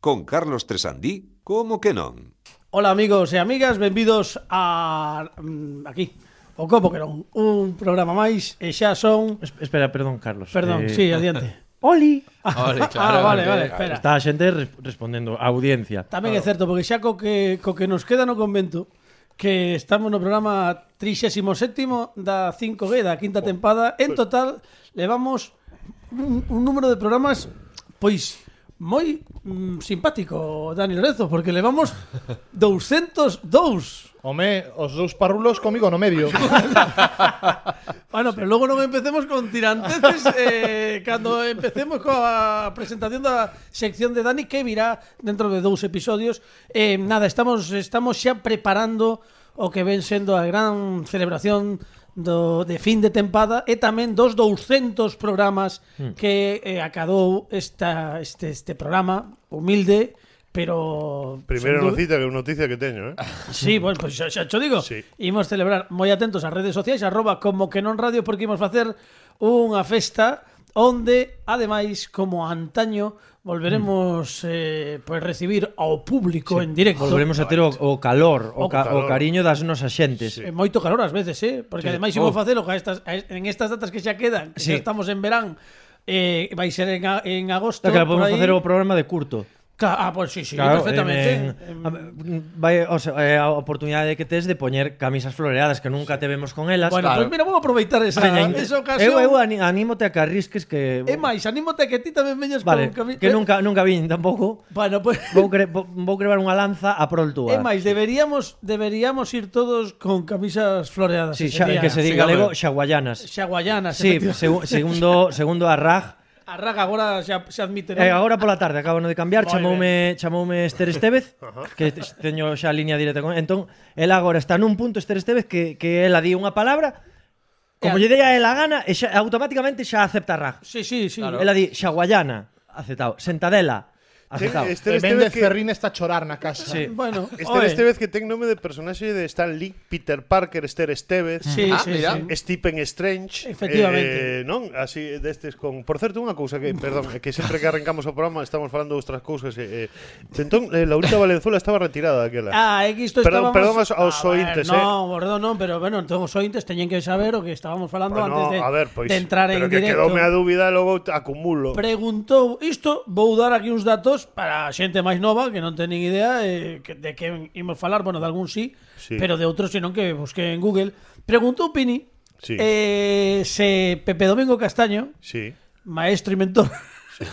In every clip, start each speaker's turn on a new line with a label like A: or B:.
A: Con Carlos Tresandí, como que non?
B: Ola amigos e amigas, benvidos a... mm, aquí, o Como que non, un programa máis e xa son...
C: Es- Espera, perdón, Carlos.
B: Perdón,
C: Eh,
B: sí, adiante.
C: Oli.
D: Ole,
B: ah,
D: claro,
B: vale,
D: porque-
B: vale, espera.
C: Está a xente res- respondendo a audiencia.
B: Tamén é certo, porque xa co que, co que nos queda no convento, que estamos no programa 37 da 5G, da quinta tempada, en total levamos un, un número de programas, pois, moi mm, simpático, Dani Lorenzo, porque levamos 202
E: Home, os dous parrulos comigo no medio.
B: Bueno, pero logo non empecemos con tiranteces eh, Cando empecemos coa presentación da sección de Dani Que virá dentro de dous episodios eh, Nada, estamos, estamos xa preparando O que ven sendo a gran celebración do, de fin de tempada E tamén dos 200 programas Que eh, acadou esta, este, este programa Humilde Pero
F: Primeira
B: sen dú-
F: noticia que noticia que teño, eh.
B: Sí, bueno, pois xa, xa cho digo
F: Sí.
B: Imos celebrar moi atentos ás redes sociais Arroba como que non radio Porque imos facer unha festa Onde, ademais, como antaño Volveremos eh, pois recibir ao público en directo
C: Mm. Volveremos a ter o, o calor,
B: O
C: o, ca, o
F: calor.
C: cariño das nosas xentes.
B: E moito calor ás veces, eh? Porque ademais imos
C: Oh.
B: facelo a estas, a, en estas datas que xa quedan que
C: Sí.
B: xa estamos en verán eh, Vai ser en, a- en agosto
C: Claro, claro, podemos
B: por aí.
C: facer o programa de curto.
B: Ca- Ah, pois sí, sí,
C: Claro,
B: perfectamente
C: en- en- a- vai, o sea, é a oportunidade que tes de poñer camisas floreadas que nunca te vemos con elas.
B: Bueno,
C: Claro.
B: pois mira, vou aproveitar esa,
C: Veña,
B: esa ocasión
C: eu, eu ani- anímote a que arrisques que
B: E máis, anímote a que ti tamén veñas
C: Vale,
B: con cami- eh,
C: que nunca nunca vin tampouco.
B: Bueno, pues, pois
C: Vou, cre, vou, vou crear unha lanza a prol túa.
B: É máis, deberíamos deberíamos ir todos con camisas floreadas. ese
C: Sí, xa,
B: día.
C: que se
D: Sí,
C: diga galego,
D: home.
C: xaguayanas.
B: Xaguayanas,
C: Sí,
B: efectivamente.
C: segu- segundo, segundo a Raj.
B: A Raga agora xa, se admite. non?
C: Eh, agora pola tarde acabano de cambiar,
B: Moi
C: chamoume, chamoume Esther Estevez, que te- teño xa a línea directa con entón, ela agora está nun punto Esther Estevez que, que ela di unha palabra,
B: E a-
C: como lle dei a ela gana, e xa, automáticamente xa acepta a Raj.
B: Sí, sí, sí.
C: Ela di xaguayana, aceptado, sentadela, aceptado.
F: Este
E: E Méndez
F: que-
E: Ferrín está a chorar na casa.
C: Sí.
B: Bueno, oe.
F: Esther Estevez que ten nome de personaxe de Stan Lee, Peter Parker, Esther Estevez,
B: Sí,
D: Ah,
B: sí,
D: mira.
B: sí.
F: Stephen Strange,
B: Efectivamente.
F: eh, non? Así destes con, por certo, unha cousa que, perdón, é que sempre que arrancamos o programa estamos falando de outras cousas e eh, entón eh, Laurita Valenzuela estaba retirada daquela.
B: Ah, é que isto
F: Perdón,
B: estábamos...
F: perdón aos- aos
B: A ver,
F: ointes, eh.
B: No, perdón, non, pero bueno, entón os ointes teñen que saber o que estábamos falando
F: Bueno,
B: antes de,
F: Pues a ver, pois,
B: de entrar en
F: pero que
B: directo.
F: quedoume a dúbida, logo te- acumulo.
B: preguntou isto, vou dar aquí uns datos para a xente máis nova que non ten nin idea eh, que- de que imos falar, bueno, de algún sí,
F: Sí.
B: pero de outros senón que busqué en Google. Preguntou Pini
F: Sí.
B: eh, se Pepe Domingo Castaño,
F: Sí.
B: maestro y mentor,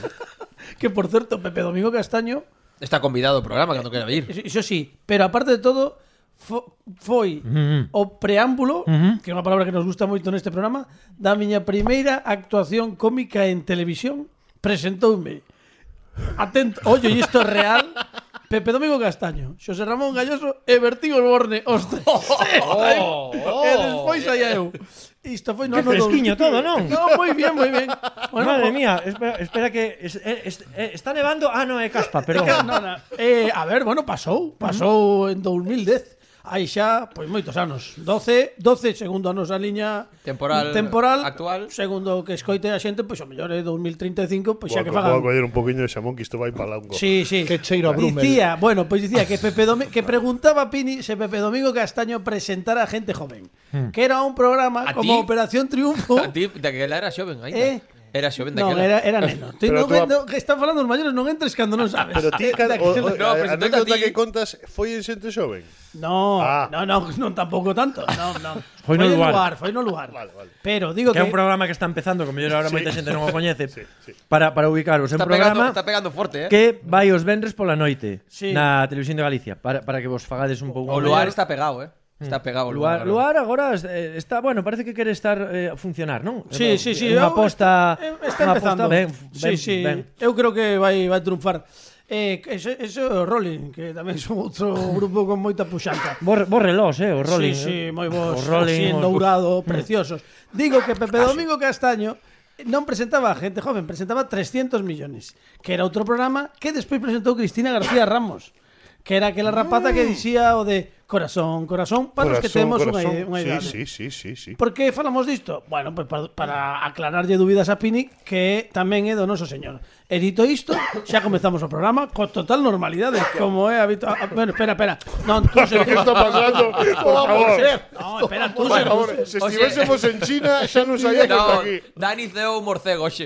B: que por certo, Pepe Domingo Castaño,
D: Está convidado ao programa cando queira
C: Eh,
D: vir.
B: iso sí, pero aparte de todo, fo, foi
C: Mm-hmm.
B: o preámbulo, que é unha palabra que nos gusta moito neste programa, da miña primeira actuación cómica en televisión, presentoume. Atento, ollo, e isto é real. Pepe Domingo Castaño, Xosé Ramón Galloso e Bertín Osborne. Os tres.
D: Oh,
B: E despois saía eu. Isto foi no
C: Que
B: ano dous-
C: fresquiño todo, non?
B: No, moi bien, moi bien. o-
C: Madre mía, espera, espera que es- es- es- está nevando. Ah, no, é caspa, perdón.
B: No, na- eh, a ver, bueno, pasou, pasou en 2010. Aí xa, pois moitos anos. 12, 12 segundo a nosa liña
D: Temporal
B: temporal
D: actual.
B: Segundo o que escoite a xente, pois o mellor é 2035, e pois xa que
F: Vou a-
B: fagan.
F: vou a coller un poquinho de xamón que isto vai pa longo.
B: Sí, sí.
E: Que cheiro a Brummel.
B: Dicía, bueno, pois dicía que Pepe Domi- que preguntaba a Pini se Pepe Domingo Castaño presentara a gente joven,
F: Hmm.
B: que era un programa
D: A
B: como
D: ti?
B: Operación Triunfo.
D: A ti, daquela era xoven, aí.
B: Eh?
D: Era xoven
B: Non,
D: daquela.
B: era, era neno. Ti
F: Pero
B: non,
F: tú a-
B: non- que están falando os maiores, non entres cando non sabes.
F: Pero ti, ca- o, o,
D: No,
F: a
D: presentate a
F: anécdota
D: ti.
F: que contas foi en xente xoven.
B: No,
F: Ah.
B: no, no, non tampouco tanto. No, no.
C: Foi no
B: de
C: lugar.
B: foi no lugar. Pero digo
C: Que é
B: que,
C: un programa que está empezando, como yo ahora moita xente non o coñece. Para para ubicaros, é un
D: Está pegando,
C: programa
D: está pegando forte, eh?
C: que vai os vendres pola noite
B: Sí.
C: na Televisión de Galicia para, para que vos fagades un pouco
D: O luar está pegado, eh? Está pegado o luar.
C: Mm. Luar, luar agora eh, está, bueno, parece que quere estar eh, a funcionar, non?
B: Sí, sí, sí.
C: Unha
B: eu-
C: aposta,
B: eh, está
C: unha
B: empezando.
C: aposta- ben,
B: sí,
C: ben,
B: sí.
C: ben.
B: Eu creo que vai vai triunfar. Eh, que ese, ese é o Rolling, que tamén son outro grupo con moita puxanta.
C: Bor, borrelos, eh, os Rolling.
B: Sí, sí,
C: eh.
B: moi bons.
C: Os
B: Rolling,
C: Rolling, os-
B: dourado, preciosos. Digo que Pepe Domingo Castaño non presentaba a gente joven, presentaba 300 millones, que era outro programa que despois presentou Cristina García Ramos, que era aquela rapaza que dicía o de corazón, corazón, para os que
F: Ah. Corazón,
B: temos unha,
F: corazón.
B: ide- unha
F: Sí,
B: idade.
F: Sí, sí, sí, sí.
B: Por pois que falamos disto? Bueno, pues para, para aclararlle dúbidas a Pini que tamén é do noso señor. edito isto, xa comezamos o programa co total normalidade, como é habitual. Ah, Bueno, espera, espera. Non, tú se...
F: ¿Qué está pasando? Por favor.
B: No, espera, tú
F: Por
B: se...
F: favor, si
D: Oye.
F: estuviésemos en China, ya nos haría que
D: No,
F: está aquí.
D: Dani ceo un morcego, oxe.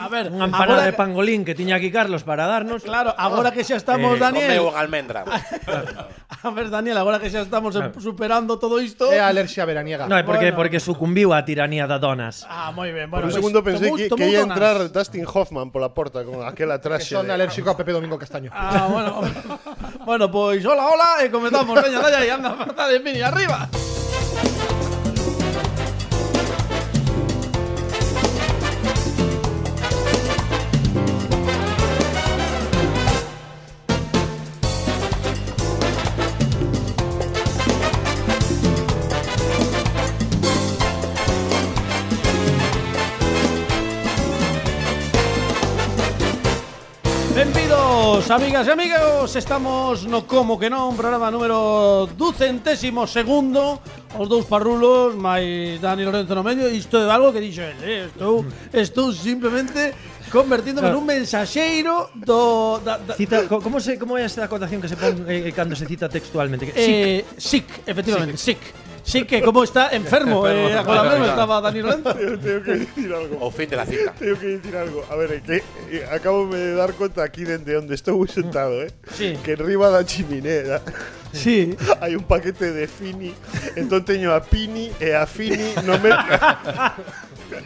B: A ver,
C: Unha empanada
B: agora-
C: de pangolín que tiña aquí Carlos para darnos.
B: Claro, agora que xa estamos,
G: Comeu
C: Eh,
B: Daniel.
G: en almendra.
B: A ver, Daniel, agora que xa estamos eh, superando todo isto.
F: Eh,
E: É a alerxia veraniega.
C: No, é porque
B: Bueno.
C: porque sucumbiu á tiranía da donas.
B: Ah, moi ben.
F: Por
B: Bueno,
F: un
B: pois,
F: segundo pensé
B: tomou-
F: que,
B: tomou
F: que ia
B: donas.
F: entrar Dustin Hoffman por la puerta con aquel
E: Que
F: atrás.
E: son alérxico a Pepe Domingo Castaño.
B: Ah, bueno. bueno, pois hola, hola, e comezamos, veña, dalla e anda falta de mini arriba. Benvidos, amigas e amigos Estamos no Como que non Programa número ducentésimo segundo Os dous parrulos Mais Dani Lorenzo no medio Isto é algo que dixo el eh? Estou, estou simplemente convertíndome nun mensaxeiro do, da, da,
C: Cita, co- como se como é esta acotación que se pon eh, cando se cita textualmente? Que, sí,
B: eh, sick, efectivamente, sick. Sick, que como está enfermo, eh, con la mano estaba Dani Lorenzo.
F: Tengo que decir algo.
G: O fin de la cita.
F: Tengo que decir algo. A ver, é que eh, acabo de dar cuenta aquí dende onde estou sentado, eh?
B: Sí.
F: Que enriba da chiminera
B: Sí.
F: hai un paquete de Fini, entón teño a Pini e a Fini no, me,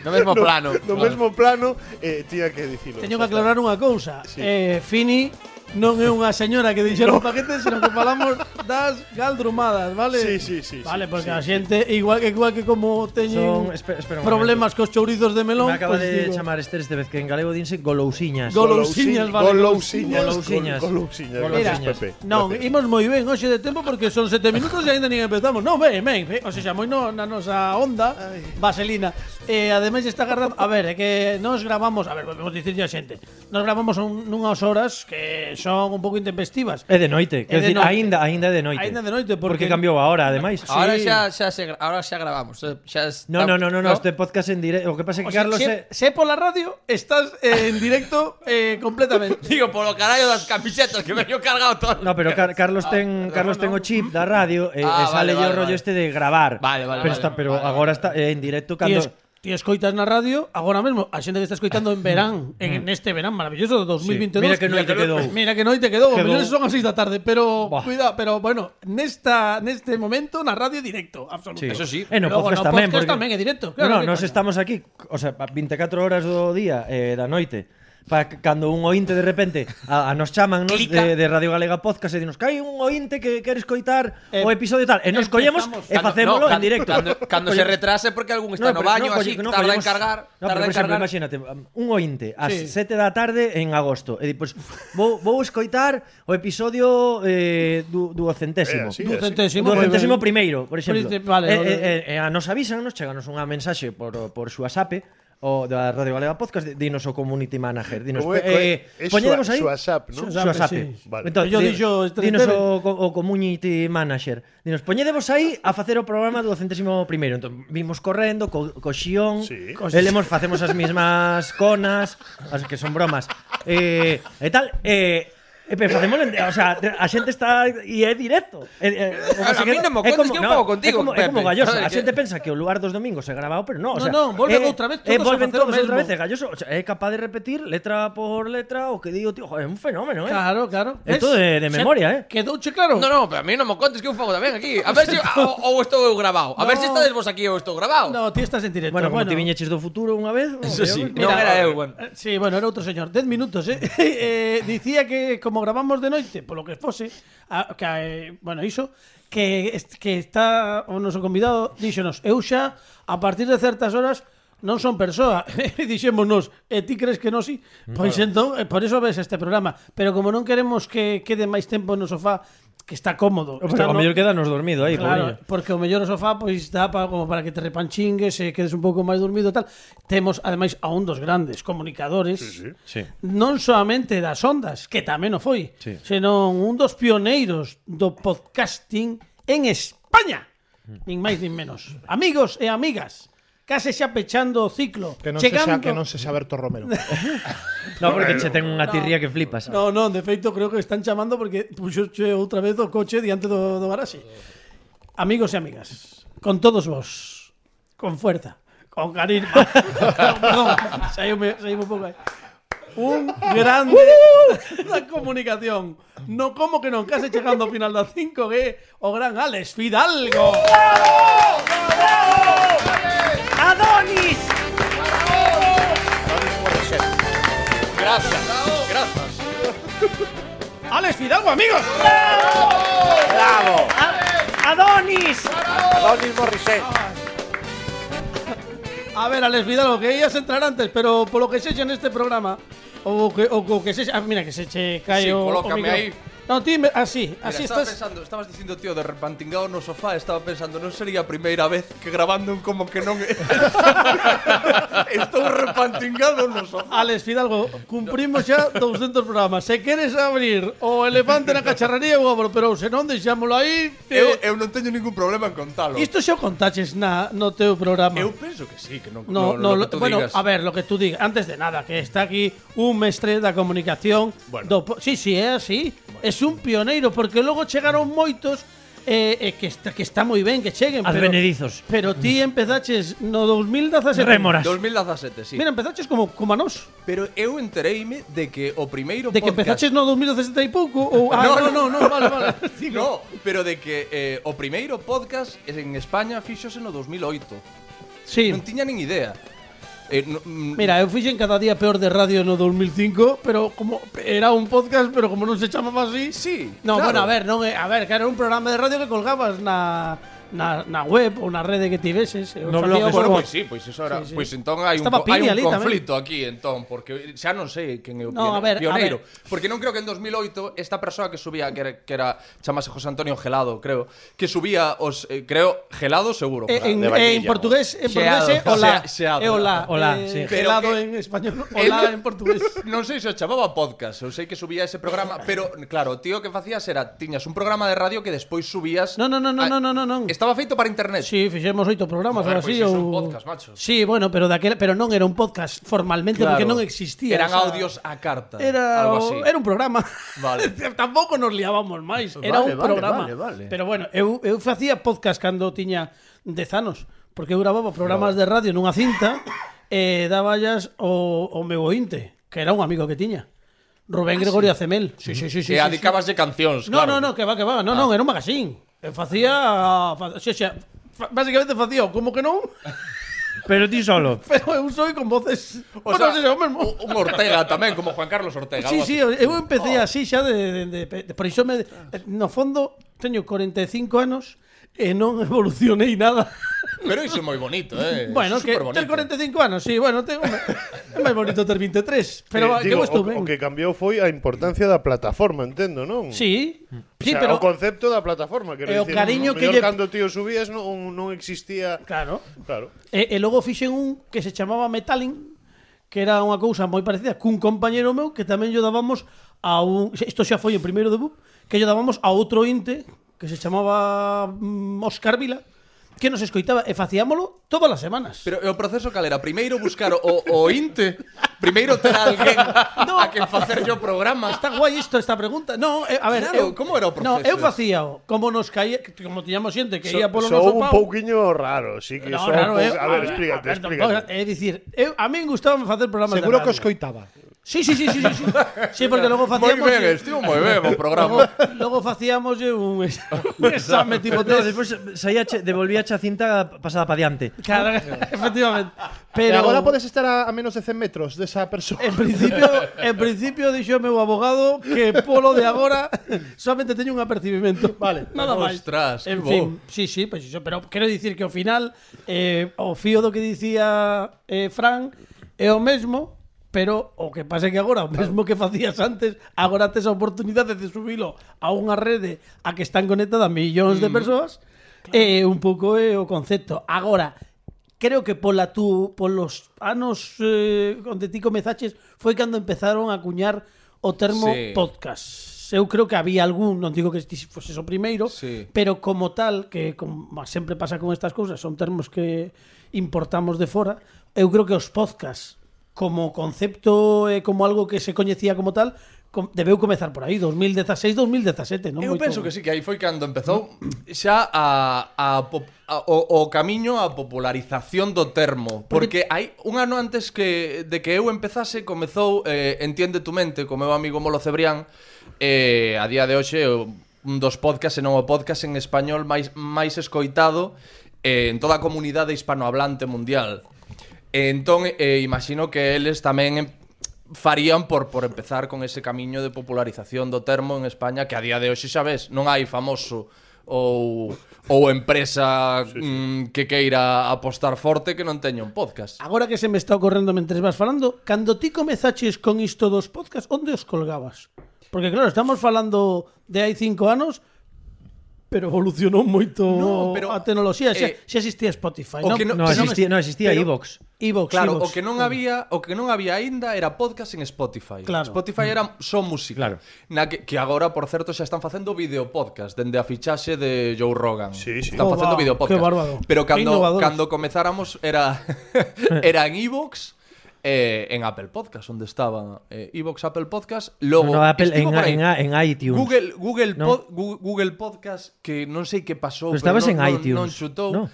D: No mesmo plano.
F: no mesmo plano e tiña que dicilo.
B: Teño que aclarar unha cousa.
F: Sí.
B: Eh, Fini non é unha señora que dixeron no. paquete, senón que falamos das galdrumadas, vale?
F: Sí, sí, sí,
B: Vale,
F: sí,
B: porque
F: sí,
B: a xente, igual que igual que como teñen
C: Son- espe- espera un
B: problemas cos chourizos de melón,
C: me acaba
B: pois
C: de
B: digo,
C: chamar Esther este vez que en galego dinse golousiñas.
B: Golousiñas, vale,
F: Golousiñas,
C: golousiñas.
F: golousiñas,
C: Mira,
F: gracias, Pepe.
B: Non,
F: Gracias.
B: imos moi ben hoxe de tempo porque son sete minutos e aínda nin empezamos. Non, ben, ben, ben. O sea, moi no, na nosa onda vaselina. E ademais está agardando... A ver, é que nos gravamos... A ver, volvemos dicirlle a xente. Nos gravamos un, nunhas horas que son un pouco intempestivas.
C: É de
B: É
C: noite, quero
B: de
C: dicir,
B: noite.
C: aínda aínda é de noite.
B: Aínda é de noite, porque-
C: porque cambiou a hora, ademais.
D: Ahora xa, xa, se, gra- ahora xa gravamos. eh, Xa está-
C: No, no, no, no, no, este podcast en directo. O que pasa
B: O
C: é que
B: sea,
C: Carlos eh.
B: se,
C: é...
B: se pola radio, estás eh, en directo eh, completamente.
D: Digo, polo carallo das camisetas que veño cargado todo.
C: No, pero Car- Carlos ten Carlos ten o chip da radio e,
D: Ah,
C: e sale
D: vale,
C: yo o
D: vale,
C: rollo
D: vale.
C: este de gravar.
D: Vale, vale,
C: pero
D: vale,
C: está, pero
D: vale,
C: agora está eh, en directo
B: Ti,
C: cando
B: es, ti escoitas na radio agora mesmo a xente que está escoitando en verán, en este verán maravilloso de 2022.
C: Mm. Sí, mira que noite quedou.
B: Mira que noite quedou,
C: Quedou.
B: quedou. son as 6 da tarde, pero
C: Buah.
B: cuida, pero bueno, nesta neste este momento na radio directo, absoluto.
D: Eso sí.
C: E no
B: Logo,
C: podcast
B: no
C: tamén,
B: podcast
C: porque...
B: tamén é directo, claro,
C: Claro,
B: que
C: no, nos
B: coño.
C: estamos aquí, o sea, pa 24 horas do día eh, da noite, para cando un ointe de repente a, a nos chaman nos
D: Clica.
C: de, de Radio Galega Podcast e dinos que hai un ointe que quere escoitar
B: Eh,
C: o episodio tal, e nos collemos
B: empezamos.
C: e facémolo
D: cando-
C: en directo.
D: Cando, cando
C: Collemos-
D: se retrase porque algún está no,
C: pero-
D: baño,
C: colle-
D: así,
C: no,
D: tarda en
C: collemos-
D: cargar,
C: no, pero,
D: tarda en
C: por exemplo,
D: cargar.
C: imagínate, um, un ointe ás
B: Sí.
C: 7 da tarde en agosto. E di, pois, vou, vou escoitar o episodio eh, du, duocentésimo.
F: Eh, así,
B: Do
F: así.
B: centésimo,
C: Do
B: moi ben.
C: centésimo eh, primeiro, por exemplo.
B: Princip- vale,
C: e,
B: vale.
C: e, e, e a nos avisan, nos cheganos unha mensaxe por, por súa sape, o da Radio Galega Podcast, di- dinos o community manager, dinos,
F: Como é-
C: eh,
F: é súa-
C: poñedemos aí...
F: súa sap, non?
C: Súa
B: Súa
C: sape,
B: sape, sí.
F: Vale.
C: Entón,
B: Yo
C: di-
B: dixo este
C: dinos
B: TV.
C: o, co- o community manager. Dinos, poñedevos aí a facer o programa do centésimo primeiro. Entón, vimos correndo, co, co xión,
F: Sí.
C: elemos, facemos as mismas conas, as que son bromas. Eh, e tal, eh, E pero facemos, o sea, a xente está e é directo. E, e, o que
D: A-
C: se
D: a mí
C: queda-
D: non me
C: é
D: contes que eu pago
C: É
D: contigo,
C: como, é como
D: Pepe.
C: galloso.
D: Joder,
C: A
D: que-
C: xente pensa que o lugar dos domingos é grabado, pero non. O
B: No,
C: sea,
B: non, volven
C: é-
B: outra vez todos
C: é,
B: a
C: volven
B: facer o
C: todos
B: mesmo.
C: outra vez, é galloso. O sea, é capaz de repetir letra por letra o que digo, tío, joder, é un fenómeno, eh.
B: Claro, claro.
C: É todo de- de
B: Xa
C: memoria, eh.
B: Quedouche claro.
D: No, no, pero a mí non me contes que eu fago tamén aquí. A ver se ou, ou estou eu grabado. A ver
B: No.
D: se estades vos aquí ou estou grabado.
B: No, ti estás en directo.
C: Bueno, como ti viñeches do futuro unha vez,
D: Eso sí,
C: joder,
D: non
B: Mira,
D: era eu, bueno.
B: Eh, Sí, bueno, era outro señor. 10 minutos, eh? eh dicía que como gravamos de noite, polo que fose, a, que, eh, bueno, iso, que, est- que está o noso convidado, díxonos, eu xa, a partir de certas horas, non son persoa. E dixémonos, e ti crees que non si? Pois entón, eh, por iso ves este programa. Pero como non queremos que quede máis tempo no sofá, que está cómodo.
C: Pero
B: está
C: ao
B: no-
C: mellor quedanos dormido aí,
B: Claro,
C: claro.
B: porque o mellor o sofá pois dá para como para que te repanchingues e quedes un pouco máis dormido e tal. Temos ademais a un dos grandes comunicadores. Sí, sí.
C: Sí.
B: Non soamente das ondas, que tamén o foi,
C: Sí.
B: senón un dos pioneiros do podcasting en España. Nin máis nin menos. Amigos e amigas, case xa pechando o ciclo.
E: Que non, se xa,
B: chegando...
E: que non se xa Berto Romero.
C: No, porque che ten unha tirría que flipas.
B: No, non, de feito creo que están chamando porque puxoche outra vez o coche diante do, do garaxe. Amigos e amigas, con todos vos, con fuerza, con cariño. Perdón, saíume, saíume un pouco aí. Un grande da comunicación. No como que non, case chegando ao final da 5G, o gran Alex Fidalgo.
C: ¡Adonis!
D: Gracias, gracias.
B: Alex Fidalgo, amigos.
C: ¡Adonis!
B: A ver, Alex Vidal, o que ías a entrar antes, pero polo que seche neste este programa, o que, o, o que seche... Ah, mira, que seche cae
D: Sí,
B: o, o
D: colócame
B: micro.
D: ahí.
B: No, ti, me- así,
D: Mira,
B: así
D: estaba
B: estás...
D: pensando, estabas dicindo, tío, de repantingado no sofá, estaba pensando, non sería a primeira vez que grabando un como que non Estou repantingado no sofá.
B: Alex Fidalgo, cumprimos xa 200 programas. Se queres abrir o elefante na cacharrería, eu abro, pero se non, deixámolo aí.
D: Eu,
B: eh,
D: eu non teño ningún problema en contalo.
B: Isto xa o contaches na, no teu programa.
D: Eu penso que sí, que non,
B: No, no, lo-
D: lo que tú
B: bueno,
D: digas.
B: a ver, lo que tú digas. Antes de nada, que está aquí un mestre da comunicación. do po- sí, sí, é así. Es un pioneiro, porque logo chegaron moitos eh, eh, que, está, que está moi ben que cheguen.
C: As
B: pero,
C: benedizos.
B: pero ti empezaches no 2017.
C: Rémoras.
D: 2017, sí.
B: Mira, empezaches como, como a nós.
D: Pero eu entereime de que o primeiro
B: De que
D: podcast
B: empezaches no 2017 e pouco. Ou, ah, no, no, no, vale, vale. Digo,
D: No, pero de que eh, o primeiro podcast en España fixose no 2008.
B: sí.
D: Non tiña nin idea. Eh, no, mm,
B: Mira, eu fixen cada día peor de radio no 2005, pero como era un podcast, pero como non se chamaba así,
D: Sí,
B: No,
D: claro.
B: bueno, a ver, non é- a ver, que era un programa de radio que colgabas na na, na web ou na rede que tiveses, eu
C: No
B: facía o-
C: blog,
D: Bueno,
C: Eso-
D: pois Pues sí, pois eso era,
B: Sí, sí.
D: pois entón hai un,
B: Estaba
D: co- hai
B: Pini
D: un
B: ali tamén.
D: conflito aquí entón, porque xa non sei quen é o
B: No,
D: pione-
B: a ver, a
D: pioneiro,
B: ver.
D: porque non creo que en 2008 esta persoa que subía que era, que era chamase José Antonio Gelado, creo, que subía os eh, creo Gelado seguro.
B: eh, en,
D: Gelado.
B: eh, en portugués, en portugués
D: Xeado.
B: é olá,
D: Xe- xeado.
B: é olá,
C: Olá,
B: eh,
C: sí.
D: Pero
B: gelado
D: que-
B: en español, olá en portugués.
D: Non sei se o chamaba podcast, eu sei que subía ese programa, pero claro, o tío que facías era tiñas un programa de radio que despois subías.
B: No, no, no, no,
D: a-
B: no, no, no, non.
D: Estaba feito para internet.
B: Sí, fixemos oito programas
D: Joder,
B: ou así
D: pois iso é
B: ou
D: un podcast, macho.
B: Sí, bueno, pero daquela, pero non era un podcast formalmente
D: Claro.
B: porque non existía.
D: Eran
B: o sea,
D: audios a carta.
B: Era, o-
D: algo así.
B: era un programa.
D: Vale.
B: Tampouco nos liábamos máis, era un
F: Vale, vale,
B: programa.
F: vale, vale.
B: Pero bueno, eu eu facía podcast cando tiña 10 anos, porque eu gravaba programas de radio nunha cinta e daballas o o meu ointe, que era un amigo que tiña. Rubén Gregorio Acemel. Sí, sí, sí, sí. sí,
D: que adicabas de
B: sí.
D: cancións,
B: No,
D: claro.
B: no, no, que va, que va. No, non, era un magazine. Eu facía, fa, xe, xe, fa, basicamente facía, o como que non,
C: Pero ti solo.
B: pero eu soy con voces.
D: O
B: bueno,
D: sea,
B: xe, xe, o mesmo.
D: un Ortega tamén, como Juan Carlos Ortega.
B: Sí,
D: algo
B: sí,
D: así. Oh.
B: eu empecé así xa de, de, de, de por iso me no fondo teño 45 anos e non evolucionei nada.
D: Pero iso é moi bonito, eh.
B: bueno, que ter 45 anos, sí, bueno, ten, hombre, é máis bonito ter 23, pero
F: Eh,
B: eh,
F: digo,
B: que estou
F: o-
B: ben.
F: o, que cambiou foi a importancia da plataforma, entendo, non?
B: Sí,
F: O
B: sí,
F: sea,
B: pero
F: o concepto da plataforma, quero
B: E o
F: dicir,
B: cariño
F: no
B: que
F: mellor
B: lle-
F: cando tío subías non, non existía,
B: claro.
F: claro.
B: E, e logo fixen un que se chamaba Metalin que era unha cousa moi parecida cun compañeiro meu que tamén lle dábamos a un... Isto xa foi o primeiro debut que lle dábamos a outro inte que se chamaba mm, Oscar Vila que nos escoitaba e facíamolo todas as semanas.
D: Pero é o proceso cal era? Primeiro buscar o, o inte, primeiro ter alguén
B: No.
D: a quen facerlle o programa.
B: Está guai isto esta pregunta. No, eh, a ver,
D: Claro, como era o
B: No, eu
D: proceso?
B: facía o, como nos caía, que- como tiñamos xente que
F: So,
B: ia polo
F: sou
B: noso
F: un
B: pau.
F: pouquiño raro, sí que
B: No,
F: sou
B: raro,
F: un
B: eh.
F: pouco- A ver, explícate,
B: a ver,
F: explícate.
B: tampouco- É dicir, eu, a min gustaba facer programas de
E: Seguro que
B: radio.
E: os coitaba.
B: Sí, sí, sí, sí, sí, sí. sí porque logo
D: Moi
B: facíamos
D: ben, estivo moi ben o
B: Logo,
D: programa.
B: logo facíamos eh, un, ex- un exame tipo
C: No,
B: test.
C: despois saía che, devolvía a cinta pasada pa diante.
B: Claro, efectivamente.
E: Pero
B: Pero
E: agora podes estar a, a menos de 100 metros desa persona.
B: En principio, en principio dixo o meu abogado que polo de agora solamente teño un apercibimento. Vale, nada máis.
D: Ostras,
B: en
D: que
B: fin, sí, sí, pois iso, pero quero dicir que ao final eh, o fío do que dicía eh, Fran é o mesmo, pero o que pasa é que agora o mesmo que facías antes, agora tes a oportunidade de subilo a unha rede a que están conectadas millóns
D: Mm.
B: de persoas. eh, É un pouco é o concepto. Agora, creo que pola tú polos anos eh, onde ti comezaches foi cando empezaron a acuñar o termo
D: Sí.
B: podcast. Eu creo que había algún, non digo que ti fose o primeiro,
D: Sí.
B: pero como tal que como sempre pasa con estas cousas, son termos que importamos de fora, eu creo que os podcast como concepto e como algo que se coñecía como tal, com, debeu comezar por aí, 2016, 2017, non
D: Eu penso que sí, que aí foi cando empezou xa a, a, pop- a o, o camiño á popularización do termo, porque hai un ano antes que de que eu empezase comezou eh, Entiende tu mente co meu amigo Molo Cebrián, eh, a día de hoxe o- un dos podcasts, e non o podcast en español máis máis escoitado eh, en toda a comunidade hispanohablante mundial. E entón, eh, imagino que eles tamén em- farían por, por empezar con ese camiño de popularización do termo en España que a día de hoxe xa ves, non hai famoso ou, ou empresa mm, que queira apostar forte que non teña un podcast.
B: Agora que se me está ocorrendo mentres vas falando, cando ti comezaches con isto dos podcast, onde os colgabas? Porque claro, estamos falando de hai cinco anos, pero evolucionou moito
D: No, pero,
B: a tecnoloxía, xa,
D: eh,
B: xa existía Spotify,
D: o
B: non?
D: que
C: No
D: que non
C: existía, no existía
B: pero-
C: iVoox.
B: Evox,
D: Claro,
B: iVoox.
D: o que non había, o que non había aínda era podcast en Spotify.
B: Claro. Mm.
D: Spotify era só música.
C: Claro.
D: Na que, que agora, por certo, xa están facendo video podcast dende a fichaxe de Joe Rogan.
F: Sí, sí.
D: Están
B: Oh,
D: facendo
B: wow,
D: video podcast.
B: qué bárbaro.
D: Pero
B: Qué
D: cando
B: innovadores.
D: cando comezáramos era era en iVoox eh, en Apple Podcast, onde estaba eh, iVoox Apple Podcast, logo
C: No, no, Apple,
D: estivo
C: en,
D: por aí.
C: en, en iTunes.
D: Google Google
C: No.
D: Pod- Gu- Google Podcast que non sei que pasou,
C: Pero estabas
D: non,
C: en
D: non-
C: iTunes,
D: non chutou.
C: no?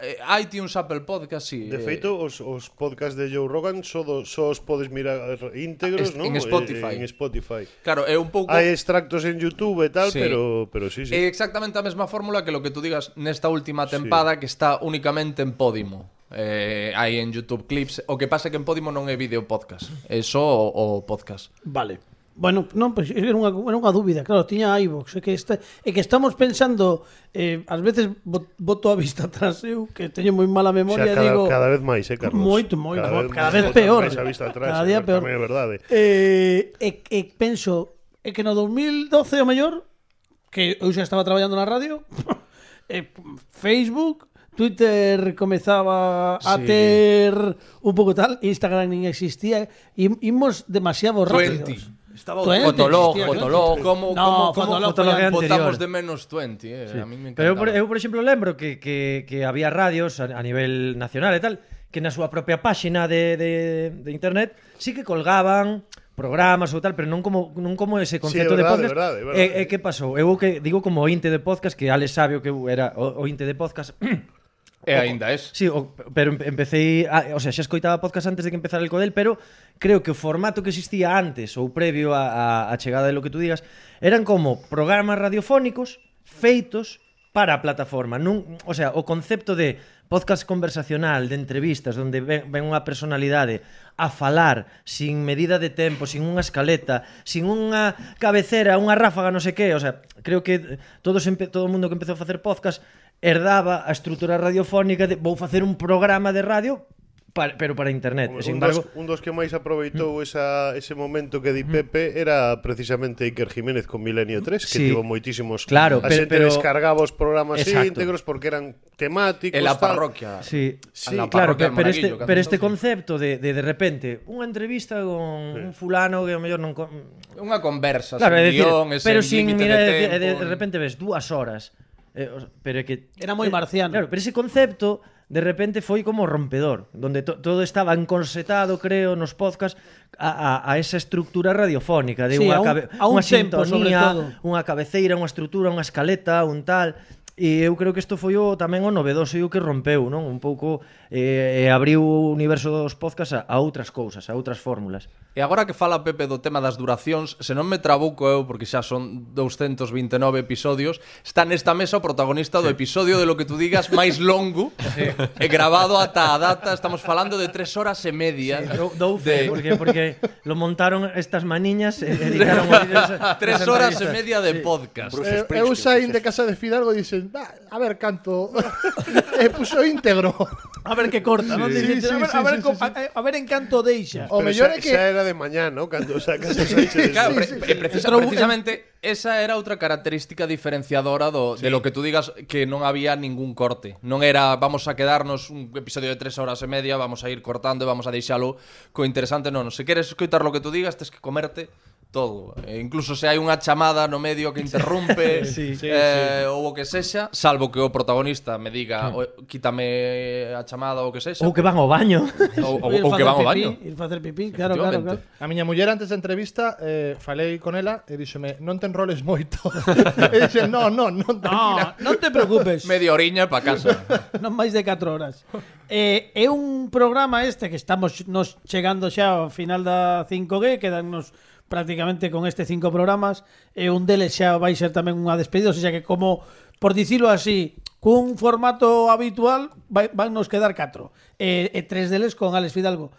D: Eh, iTunes Apple Podcast, sí.
F: De
D: eh,
F: feito, os, os podcasts de Joe Rogan só, do, só os podes mirar
D: Ah, Es-
F: íntegros, non?
D: en Spotify.
F: Eh, en Spotify.
D: Claro, é un pouco
F: Hai extractos en YouTube e tal,
D: Sí.
F: pero, pero sí, sí.
D: É Eh, exactamente a mesma fórmula que lo que tú digas nesta última tempada que está únicamente en Podimo. Eh, hai en YouTube clips, o que pasa é que en Podimo non é vídeo podcast, é só o, o podcast.
B: Vale. Bueno, non, pois era unha, era unha dúbida, claro, tiña iVox, é que esta, é que estamos pensando eh, ás veces bo- boto a vista atrás eu, que teño moi mala
F: Xa
B: memoria,
F: cada,
B: digo
F: cada vez máis, eh, Carlos?
B: Moito, moito,
F: Cada vez,
B: cada
F: máis,
B: vez
F: botas
B: peor.
F: máis a vista atrás,
B: Cada día
F: eh,
B: peor.
F: Tamén é verdade.
B: Eh, e, e penso é que no 2012 o mellor que eu xa estaba traballando na radio eh, Facebook Twitter comezaba a
D: Sí.
B: ter un pouco tal, Instagram nin existía, eh, im- imos demasiado rápidos.
D: 20.
B: Estaba
D: Fotolog, fotolog, como
B: No,
D: como como
B: Fotolog
C: foi anterior.
D: botamos de menos 20, eh. A mí me
C: Pero eu,
D: encantaba.
C: por, eu, por exemplo, lembro que, que, que había radios a, a nivel nacional e tal que na súa propia páxina de, de, de internet sí que colgaban programas ou tal, pero non como non como ese concepto
F: verdade,
C: de podcast.
F: verdade, verdade.
C: E, e que pasou? Eu o que digo como ointe de podcast que Alex sabe o que eu era o, ointe de podcast.
D: E aínda es.
C: Sí, o, pero em- empecé, a, o sea, xa escoitaba podcast antes de que empezara el Codel, pero creo que o formato que existía antes ou previo a, a, a chegada de lo que tú digas eran como programas radiofónicos feitos para a plataforma. Nun, o sea, o concepto de podcast conversacional, de entrevistas, donde ven, ven unha personalidade a falar sin medida de tempo, sin unha escaleta, sin unha cabecera, unha ráfaga, non sei que, o sea, creo que todos empe- todo o mundo que empezou a facer podcast herdaba a estrutura radiofónica de vou facer un programa de radio para, pero para internet.
F: Home,
C: Sin
F: un, dos,
C: embargo,
F: un dos que máis aproveitou esa, ese momento que di Pepe era precisamente Iker Jiménez con Milenio 3, que
C: Sí.
F: tivo moitísimos...
C: Claro,
F: a
C: pero-
F: xente
C: pero-
F: descargaba os programas
C: Exacto.
F: íntegros porque eran temáticos...
D: En la
F: tal.
D: parroquia.
C: Sí,
D: Sí, la
C: claro,
D: parroquia
C: pero, pero
D: del
C: este,
D: Monaguillo,
C: pero este
D: cando-
C: concepto de, de de repente unha entrevista con un fulano que ao mellor non con-
D: Unha conversa,
C: Claro, é
D: sen
C: decir,
D: guión, e sen
C: pero sin
D: límite
C: mira,
D: de
C: é decir, de,
D: tempo.
C: de repente ves dúas horas. Eh, o- pero é que
B: Era moi
C: eh,
B: marciano.
C: Claro, pero ese concepto de repente foi como rompedor, donde to- todo estaba encorsetado, creo, nos podcast a, a, a esa estructura radiofónica de
B: Sí,
C: unha
B: a un-
C: cabe-
B: a un
C: unha
B: tempo, sobre
C: sintonía,
B: todo.
C: unha cabeceira, unha estrutura, unha escaleta, un tal. E eu creo que isto foi o tamén o novedoso e o que rompeu, non? Un pouco eh, e abriu o universo dos podcasts a, a outras cousas, a outras fórmulas.
D: E agora que fala Pepe do tema das duracións, se non me trabuco eu, porque xa son 229 episodios, está nesta mesa o protagonista do episodio de lo que tú digas máis longo, e grabado ata a data, estamos falando de tres horas e media.
C: Dou, dou fe,
D: de-
C: porque, porque lo montaron estas maniñas e editaron o vídeo esa-
D: Tres
C: esas
D: horas e
C: entrevistas.
D: media de podcast.
E: Eh, eu saín de casa de Fidalgo e dixen, "Va, a ver canto. e puxo íntegro.
B: A ver que corta, non?
E: Sí,
B: Dicen,
E: sí,
B: a, ver,
E: sí,
B: a, ver,
E: sí,
B: co-
E: sí, sí.
B: a- a ver en canto deixa.
E: O
F: Pero
E: mellor
F: xa,
E: é que
F: xa era de mañá, ¿no? Cando sacas as
E: sí,
D: Claro,
E: sí,
D: pre-
E: sí,
D: pre-
E: sí.
D: precisa-
B: Entrou-
D: Eh, precisamente esa era outra característica diferenciadora do, de lo que tú digas que non había ningún corte. Non era vamos a quedarnos un episodio de tres horas e media, vamos a ir cortando e vamos a deixalo co interesante. Non, se queres escoitar lo que tú digas, tes que comerte todo. E incluso se hai unha chamada no medio que interrumpe
C: Sí, sí,
D: eh, ou o que sexa, salvo que o protagonista me diga "O- quítame a chamada ou o que sexa.
C: Ou que van ao baño.
D: ou, ou-
B: Ir
D: ou que
B: facer
D: van
B: pipí,
D: ao baño.
B: Ir facer pipí, claro, claro, claro.
D: Efectivamente.
E: A miña muller antes da entrevista eh, falei con ela e díxome non te enroles moito. e dixen, non, non,
B: No,
E: non, tranquila.
B: non te preocupes.
D: Media oriña para casa.
B: non máis de 4 horas. Eh, é un programa este que estamos nos chegando xa ao final da 5G, quedannos prácticamente con este cinco programas, e un deles xa vai ser tamén unha despedida, xa que como por dicilo así, cun formato habitual vai, van nos quedar 4. E, e tres deles con Alex Fidalgo.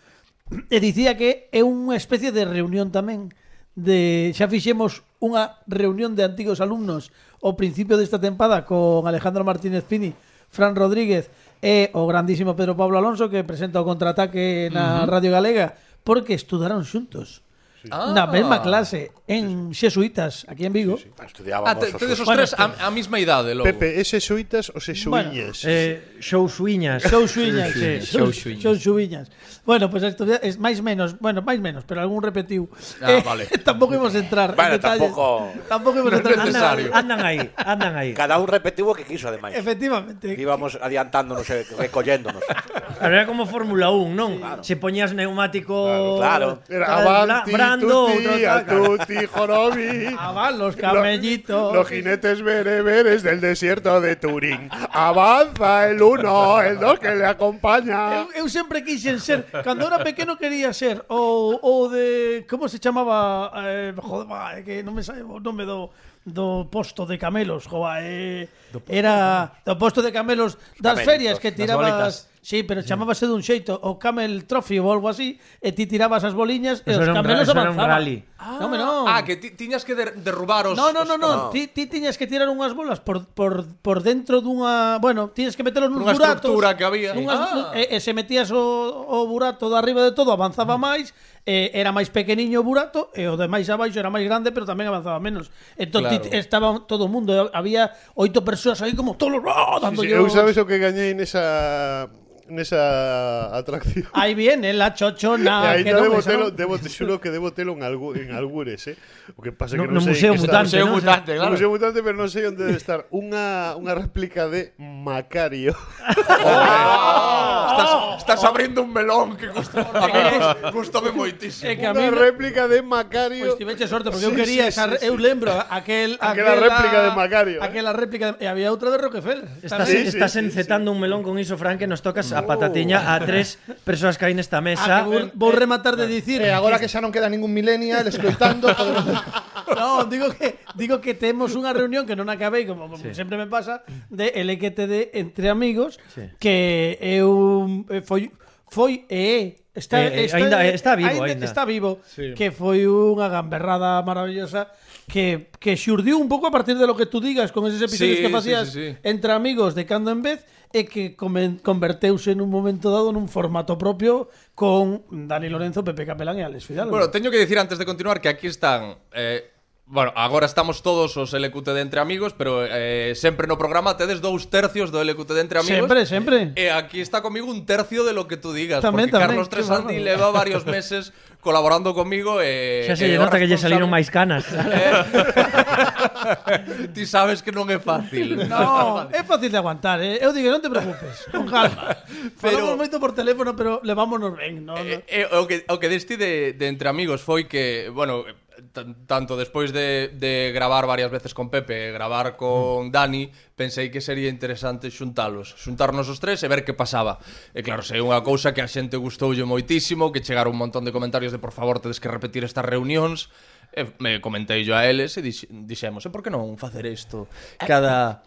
B: E dicía que é unha especie de reunión tamén de xa fixemos unha reunión de antigos alumnos ao principio desta tempada con Alejandro Martínez Pini, Fran Rodríguez e o grandísimo Pedro Pablo Alonso que presenta o contraataque na Radio Galega porque estudaron xuntos. Na mesma clase en Xesuitas, aquí en Vigo.
D: Ah, te, tedes os tres a, a mesma idade logo.
F: Pepe, ¿es jesuitas o sesuiñas?
C: eh, show suiñas.
B: Xou Xuiñas, sí,
C: Sí,
B: Xou Xou Xuiñas. Bueno, pois pues es máis menos, bueno, máis menos, pero algún repetiu. Eh,
D: Ah, vale.
B: tampouco imos entrar
G: Bueno,
B: en detalles.
G: tampouco-
B: Tampouco imos entrar en
D: necesario.
B: detalles.
C: Andan aí, andan aí.
G: Cada un repetivo que quiso, ademais.
B: Efectivamente.
G: Íbamos adiantándonos e recolléndonos.
C: Era como Fórmula 1, non? Se poñías neumático
G: Claro, claro.
F: Era
C: tal,
F: Avanti,
C: bra- brando, outro
F: Tutti,
C: tal. claro.
F: Atuti, Jorobi.
B: Aban Ah, los
F: Lo-
B: camellitos.
F: Los jinetes bereberes del desierto de Turín. Avanza el uno, el dos que le acompaña.
B: Eu, eu sempre quixen ser, cando era pequeno quería ser o, o de como se chamaba, eh, joder, va, é que non me sabe o nome do do posto de camelos, joa, eh, era do posto de camelos das
G: Camelitos,
B: ferias que
G: das
B: tirabas Sí, pero chamábase dun xeito o Camel Trophy ou algo así e ti tirabas as boliñas e os
C: Eso era un ra-
B: camelos
C: eso era un
B: avanzaban.
C: rally.
B: Ah, no, no.
D: Ah, que ti, tiñas que der, derrubar os...
B: No, no, no,
D: os-
B: no. Ti, ti tiñas que tirar unhas bolas por, por, por dentro dunha... Bueno, tiñas que metelos nuns
D: Nunha
B: buratos.
D: estrutura que había.
B: Nunhas,
D: Ah.
B: e, e se metías o, o burato de arriba de todo, avanzaba
D: Mm.
B: máis, eh, era máis pequeniño o burato, e o de máis abaixo era máis grande, pero tamén avanzaba menos. Entón,
D: Claro.
B: ti, estaba todo o mundo, e había oito persoas aí como tolos, ¡ah! dando
F: Sí, sí, eu sabes o que gañei nesa nesa atracción.
B: Aí viene la
C: Ah,
B: chochona.
F: e aí
B: que non,
F: no, debo
B: esa
F: telo,
B: non.
F: debo, te xuro que debo telo en, algu, en algures, eh? O que pasa
C: No,
F: que
C: no
F: non
C: Museo
F: sei que está-
C: Mutante,
D: Museo
C: non?
D: mutante,
F: No
D: claro.
F: Museo Mutante, pero non sei onde debe estar unha, unha réplica de Macario.
C: Oh.
D: Estás, estás abrindo un melón que gustó, a mí gust- gustome moitísimo.
B: É que a mí... Pues
F: Unha réplica de Macario.
B: Pois tiveche sorte porque eu
F: Sí,
B: quería
F: sí,
B: esa,
F: sí, sí.
B: eu lembro aquel
F: Aquela réplica de Macario, eh.
B: Aquela réplica de, e había outra de Rockefeller.
C: Estás,
F: Sí, sí,
C: estás
F: sí,
C: encetando un melón con iso, Fran, que nos tocas a patatiña a tres persoas que hai nesta
B: Ah,
C: mesa.
B: que vou, vou rematar de dicir.
E: E
F: Eh,
E: agora que xa non queda ningún millennial escoitando, podemos-
B: No, digo que digo que temos unha reunión que non acabei, como sí. sempre me pasa, de LQTD entre amigos, sí.
C: Sí.
B: que eu eh, foi foi e é, está,
C: Eh, eh, aínda- está vivo, aínda.
B: está vivo sí. que foi unha gamberrada maravillosa que, que xurdiu un pouco a partir de lo que tú digas con eses episodios
D: Sí,
B: que facías
D: sí, sí, sí.
B: entre amigos de cando en vez e que comen- converteuse en un momento dado nun formato propio con Dani Lorenzo, Pepe Capelán e Alex Fidalgo.
D: Bueno, teño que dicir antes de continuar que aquí están eh, Bueno, agora estamos todos os LQTD entre amigos Pero eh, sempre no programa tedes dous tercios do LQTD entre amigos
B: sempre, sempre.
D: E aquí está comigo un tercio de lo que tú digas
B: Tamén,
D: Porque
B: tamén,
D: Carlos
B: qué
D: Tresanti
B: bárbaro.
D: leva varios meses colaborando comigo e,
C: Xa se
D: e
C: lle
D: o
C: nota que lle
D: responsable-
C: saliron máis canas.
D: Ti sabes que non é fácil
B: No, é fácil de aguantar, eh. Eu digo, non te preocupes, con calma.
D: Pero-
B: Falamos moito por teléfono, pero levámonos ben, no, no.
D: Eh, eh, o que o que desti de, de entre amigos foi que, bueno, tan- tanto despois de, de gravar varias veces con Pepe, e gravar
B: Mm.
D: con Dani, pensei que sería interesante xuntalos, xuntarnos os tres e ver que pasaba. E claro, sei unha cousa que a xente gustoulle moitísimo, que chegaron un montón de comentarios de por favor, tedes que repetir estas reunións. E me comentei yo a eles e dix- dixemos, e por que non facer isto cada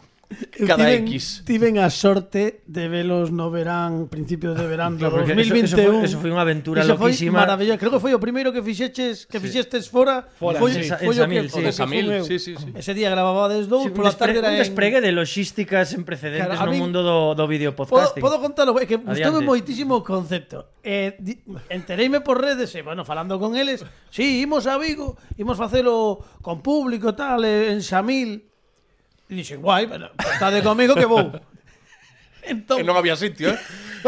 D: cada
B: tiven,
D: X?
B: Tiven a sorte de velos no verán, principio de verán do
C: Claro, porque eso-
B: 2021.
C: eso foi- eso foi unha aventura
B: Iso foi
C: loquísima.
B: maravillosa. Creo que foi o primeiro que fixeches, que fixestes fora.
C: Fora,
B: foi,
C: sí.
B: foi o
C: En
B: que,
C: Samil, sí.
B: o que
D: En Samil,
B: fun eu.
D: sí, sí, sí.
B: Ese día grababa desde dous,
C: Sí,
B: pola tarde era
C: un
B: en-
C: despregue de logística sen precedentes
B: Claro, a
C: no
B: min-
C: mundo do,
B: Podo,
C: do videopodcasting.
B: podo contalo, é que gustoume
C: Adiante.
B: moitísimo o concepto. Eh, di, entereime por redes, e, bueno, falando con eles, si, sí, imos a Vigo, imos facelo con público, tal, eh, en Samil. E dixen, guai, bueno, contade comigo que vou.
D: E
B: entón,
D: non había sitio, eh?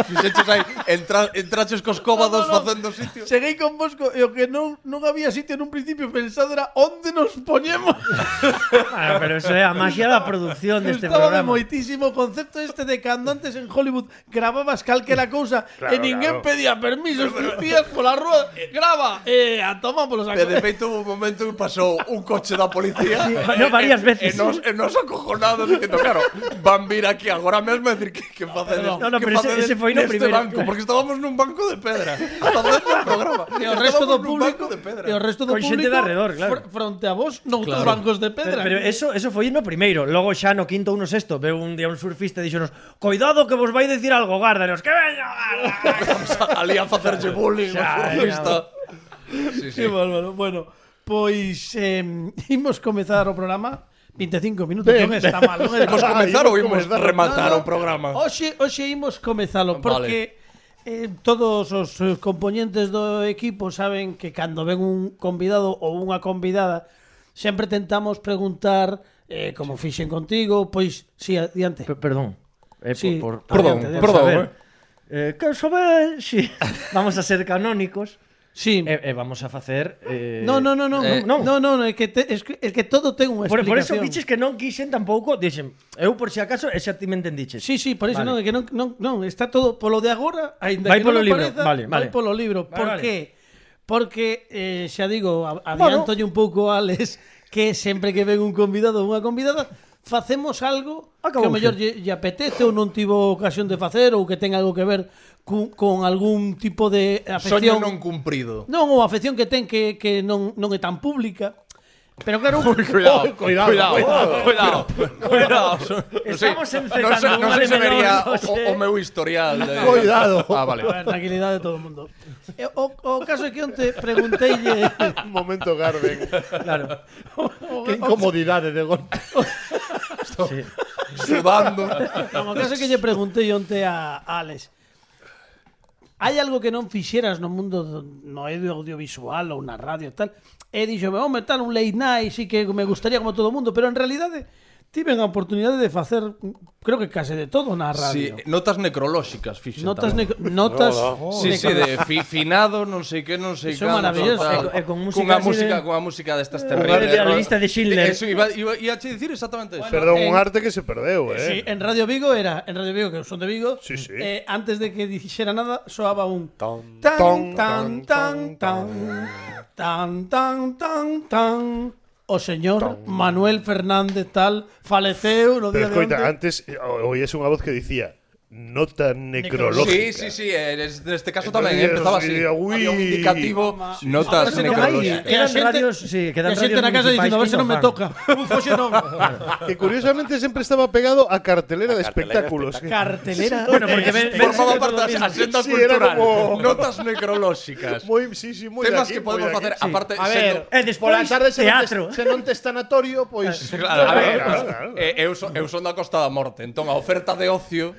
D: fixeches aí entra, entraches cos cóbados
B: No, no, no.
D: facendo sitio.
B: Cheguei con vos co- e o que non, non había sitio nun principio pensado era onde nos poñemos.
C: Ah, pero eso é a magia da produción
B: Gustábame
C: deste este programa.
B: moitísimo o concepto este de cando antes en Hollywood grababas calquera cousa e
F: Claro,
B: ninguén
F: claro.
B: pedía permisos, tías pola rúa, "Eh, graba, e a toma polos
D: E de
B: sacos.
D: feito houve un momento que pasou un coche da policía
C: Sí, no, varias veces.
D: E, e, nos, e nos acojonados dicindo, claro, van vir aquí agora mesmo e dicir que, que facedes
C: No, no,
D: que
C: pero ese-
D: facedes
C: ese foi no
D: neste
C: primeiro,
D: banco,
C: claro.
D: porque estábamos nun banco de pedra facendo o programa
B: E o resto do
D: Estábamos nun
B: público,
D: banco de pedra.
B: e o resto do
C: Con xente
B: público
C: de arredor, claro.
B: fr- fronte a vos, noutros
D: Claro.
B: bancos de
C: Pero,
B: pedra.
C: pero eso, eso foi no primeiro Logo xa no quinto ou no sexto Veu un día un surfista e dixonos Coidado que vos vai decir algo, gárdanos Que veño, gárdanos
D: ali a facerlle bullying
C: Xa,
D: ao surfista. Sí, sí.
B: Que bárbaro. Bueno, pois eh, imos comezar o programa 25 minutos,
E: Ben.
B: non está mal, non
D: Imos
B: está mal.
D: comezar ou imos
E: comezar.
D: rematar o programa?
B: Hoxe, hoxe imos comezalo
D: Vale.
B: porque eh, todos os eh, componentes do equipo saben que cando ven un convidado ou unha convidada sempre tentamos preguntar eh, como fixen contigo, pois si sí, adiante.
C: Pe- Perdón eh,
B: Sí,
C: por, por,
D: Perdón,
B: Adiante, adiante.
D: perdón,
C: saber.
D: eh.
C: Eh, que saber si vamos a ser canónicos
B: Sí.
C: e, e vamos a facer eh,
B: no, no, no, no.
D: eh,
B: no, no, no, é que te, es que, é que todo ten unha
C: Por,
B: explicación.
C: por eso biches que non quixen tampouco Dixen, eu por si acaso, e xa ti me entendiches
B: Sí, sí, por eso
C: Vale.
B: non, é que non, non, non, está todo polo de agora, aínda que
C: Vai
B: non
C: polo
B: o
C: libro,
B: pareza,
C: vale,
B: vai
C: vale.
B: polo libro.
C: Vale,
B: por
C: vale.
B: que? Porque eh, xa digo, a- adiántolle un pouco a Alex que sempre que ven un convidado ou unha convidada facemos algo que
C: Acabouche.
B: o mellor lle, lle apetece ou non tivo ocasión de facer ou que ten algo que ver cu, con algún tipo de afección.
D: Soño non cumprido.
B: Non, ou afección que ten que, que non, non é tan pública. Pero claro, un-
D: Cuidado,
E: cuidado,
D: cuidado, cuidado, cuidado.
C: Estamos encetando
D: non se, non
C: un
D: se vería
C: melón,
D: o, o meu historial. De...
E: Cuidado.
D: Ah, vale.
B: A ver, tranquilidade de todo o mundo. E O, o caso é que onte pregunteille
F: Un momento, Garden.
C: Claro,
E: Qué incomodidades de golpe.
C: sí.
D: Sudando.
B: Como caso é que lle preguntei onte a a Alex. Hai algo que non fixeras no mundo do- no audio- audiovisual ou na radio e tal. E díxome, home, tal un late night, sí que me gustaría como todo o mundo, pero en realidade tiven a oportunidade de facer, creo que case de todo na
D: Sí, eh,
B: radio.
D: notas necrolóxicas, fixen.
B: notas
D: tamén.
B: neco- notas
D: Sí, sí,
B: necro-
D: de fi, finado, non sei que, non sei
B: Eso
D: canto,
B: maravilloso.
C: E co-
D: tal.
C: e con música
D: Cunha
C: así
D: música,
C: de-
D: cunha música destas
C: de
D: terribles.
C: la lista de Schindler.
D: Eso, iba, iba, iba a dicir exactamente eso.
F: Perdón,
B: en-
F: un arte que se perdeu,
B: Sí,
F: eh.
B: en Radio Vigo era, en Radio Vigo, que son de Vigo,
F: Sí, sí.
B: eh, antes de que dijera nada, soaba un
G: Ton,
B: tan,
F: ton,
B: tan, tan,
F: ton,
B: tan, tan, tan, tan, tan. O señor Manuel Fernández tal faleceu no
F: Pero
B: día de
F: escoita,
B: onte.
F: antes eh, o- oías unha voz que dicía nota
D: Sí,
F: necrológica.
D: sí, sí, eh, es- neste caso
F: Entonces,
D: tamén eh, empezaba así.
F: sí, ui.
D: Había un indicativo,
B: Ma- Ahora
D: notas
B: se nos
D: necrolóxicas.
B: vai. a
C: Quedan
B: xente-
C: radios, sí,
B: E
C: quedan
B: a
C: radios
B: xente na casa
C: municipais
B: dicindo, a ver
C: que
B: se non me
C: fan".
B: toca. Uf, hoxe non.
F: Que curiosamente sempre estaba pegado a cartelera
G: A
F: de
G: cartelera
F: espectáculos.
B: Cartelera. Eh,
C: Bueno, porque ven- ven
D: Formaba
C: sempre
D: parte
C: todo
D: da
C: bien.
D: axenda
F: Sí, era
D: cultural.
F: como-
D: Notas necrolóxicas.
F: Moi, sí, sí, moi
D: Temas
F: de aquí,
D: que
F: moi
D: podemos
F: de aquí.
D: facer aparte
E: A ver,
C: Eh, despois,
E: pola tarde se
C: teatro.
E: Non te, se non te sanatorio, pois...
D: sendo- Claro, a ver,
F: Claro, claro.
D: eh, eu, son, eu son da Costa da Morte, entón a oferta de ocio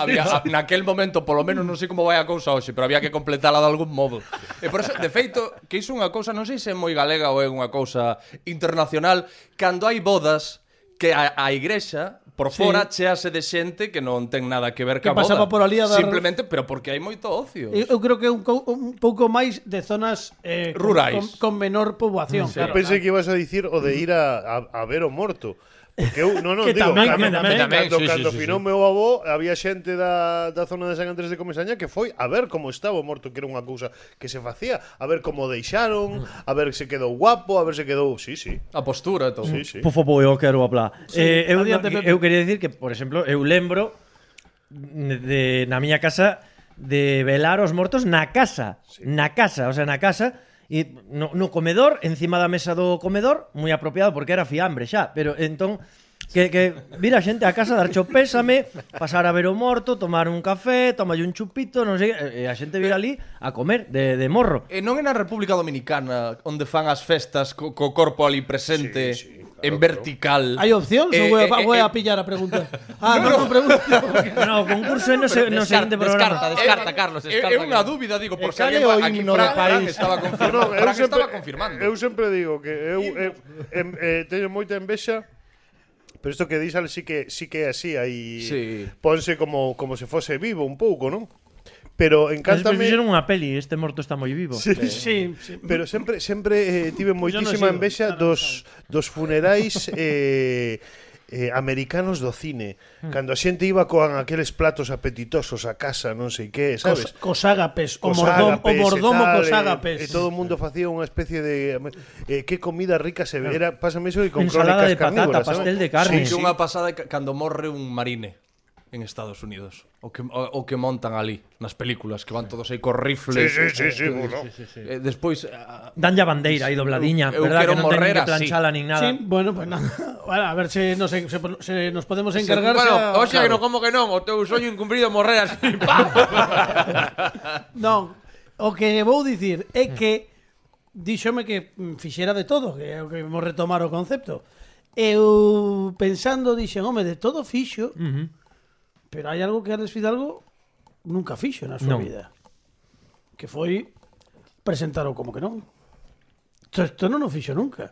D: había a- naquel momento, polo menos non sei como vai a cousa hoxe, pero había que completala de algún modo. E por eso, de feito, que iso é unha cousa, non sei se é moi galega ou é unha cousa internacional, cando hai bodas que a, a igrexa por
B: Sí.
D: fora chease de xente que non ten nada que ver
B: Que
D: ca boda.
B: pasaba por ali a dar-
D: Simplemente, pero porque hai moito ocio.
B: Eu eu creo que é un, cou- un pouco máis de zonas eh, con-
D: Rurais.
B: Con, con menor poboación.
F: Eu
B: Claro,
F: pensei que ibas a dicir o de ir a, a, a ver o morto. Porque eu, non, non,
C: Que
F: digo,
C: tamén,
F: cando,
C: que tamén,
F: cando,
D: tamén, sí,
F: cando
D: sí, sí,
F: finou
D: sí.
F: meu avó, había xente da, da zona de San Andrés de Comesaña que foi a ver como estaba o morto, que era unha cousa que se facía, a ver como deixaron, a ver se quedou guapo, a ver se quedou... Sí, sí,
D: A postura e todo.
F: sí, sí.
C: Por favor, eu quero hablar. eh, eu,
B: adiante,
C: non-
B: Pepe.
C: eu quería decir que, por exemplo, eu lembro de, na miña casa de velar os mortos na casa, na casa, o sea, na casa e no, no comedor, encima da mesa do comedor, moi apropiado porque era fiambre xa, pero entón que, que vir a xente a casa dar cho pésame, pasar a ver o morto, tomar un café, tomalle un chupito, non sei, que, e a xente vir ali a comer de, de morro.
D: E Eh, non é na República Dominicana onde fan as festas co, co corpo ali presente
F: Sí, sí, claro,
D: en vertical.
B: Hai opcións ou vou a, vou a pillar a pregunta? Ah, non, non pregunto.
C: No, o concurso é no, se, no seguinte programa.
H: descarta, Carlos,
D: Eh, É, é unha dúbida,
F: Eh,
D: digo,
E: E
D: por se
E: cal é
D: alguén
E: o
D: va- aquí
E: himno do
D: Fran,
E: país?
D: Fran estaba
F: No,
D: confirmando.
F: no, eu
D: Fran
F: sempre,
D: estaba confirmando.
F: eu sempre digo que eu, eu, em, eh, teño moita envexa Pero isto que dis, Alex, sí que, sí que é así, aí
D: Sí.
F: ponse como, como se fose vivo un pouco, non? Pero
C: Cántame...
F: encántame...
C: fixeron unha peli, este morto está moi vivo.
F: Sí,
B: Sí, sí.
F: Pero sempre sempre eh, tive
E: sigo.
F: moitísima envexa dos dos funerais eh eh americanos do cine, cando a xente iba con aqueles platos apetitosos a casa, non sei que,
B: Cos,
F: sabes?
B: cos ágapes, o,
F: Cos
B: mordom, o
F: ágapes e
B: mordomo
F: tal,
B: cos
F: eh,
B: ágapes.
F: E todo o mundo facía unha especie de eh, que comida rica se ve. Era, pásame iso e con
C: Ensalada
F: crónicas
C: de patata,
F: carnívoras,
C: pastel
F: ¿sabes?
C: de carne.
F: Sí,
D: Que
F: sí.
D: unha pasada ca- cando morre un marine en Estados Unidos. O que, o, o que montan ali nas películas, que van todos aí co
F: Sí,
D: rifles.
F: sí, sí, sí, bueno.
D: Eh, despois, a-
C: Danlle a bandeira aí dobladiña,
D: Eu- eu
C: verdad
D: quero
C: que non teñen
D: morrer
C: que
D: así.
C: planchala nin nada.
B: Sí, bueno, pues nada. Bueno, a ver si nos, se, se nos podemos encargar.
D: bueno,
B: xa-
D: o sea, que non, como que non, o teu soño incumprido morrer así,
B: Non, o que vou dicir é que díxome que mm, fixera de todo, que é o que vamos retomar o concepto. Eu pensando dixen, home, de todo fixo,
C: Ujú.
B: pero hai algo que Alex Fidalgo nunca fixo na súa
C: Non.
B: vida. Que foi presentar o como que non. Isto, isto non o fixo nunca.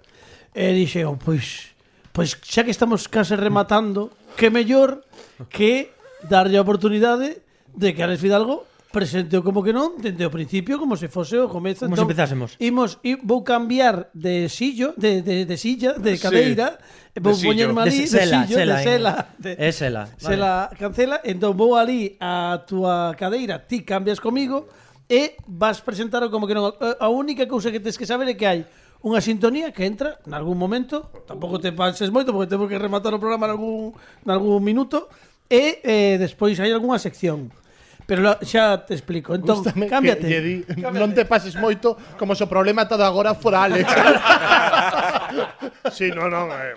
B: E dixen, oh, pois, pois xa que estamos case rematando, que mellor que darlle a oportunidade de que Alex Fidalgo presente o como que non dende o principio como se fose o comezo Entón,
C: Como se empezásemos.
B: imos, i- vou cambiar de sillo de, de, de silla, de cadeira sí. vou
D: De sillo.
B: poñerme ali de,
C: sela,
B: sillo,
C: sela,
B: de
C: eh. en-
B: sela de,
C: É sela.
B: se la cancela, entón vou ali a túa cadeira, ti cambias comigo e vas presentar o como que non. A a única cousa que tens que saber é que hai unha sintonía que entra en algún momento, tampouco te panses moito porque temos que rematar o programa en algún, en algún minuto, e eh, despois hai algunha sección. Pero la- xa te explico. Entón,
E: Gústame que
B: cámbiate.
E: lle di, Non te pases moito como se o problema todo agora fora Alex.
F: Sí, non, non, eh.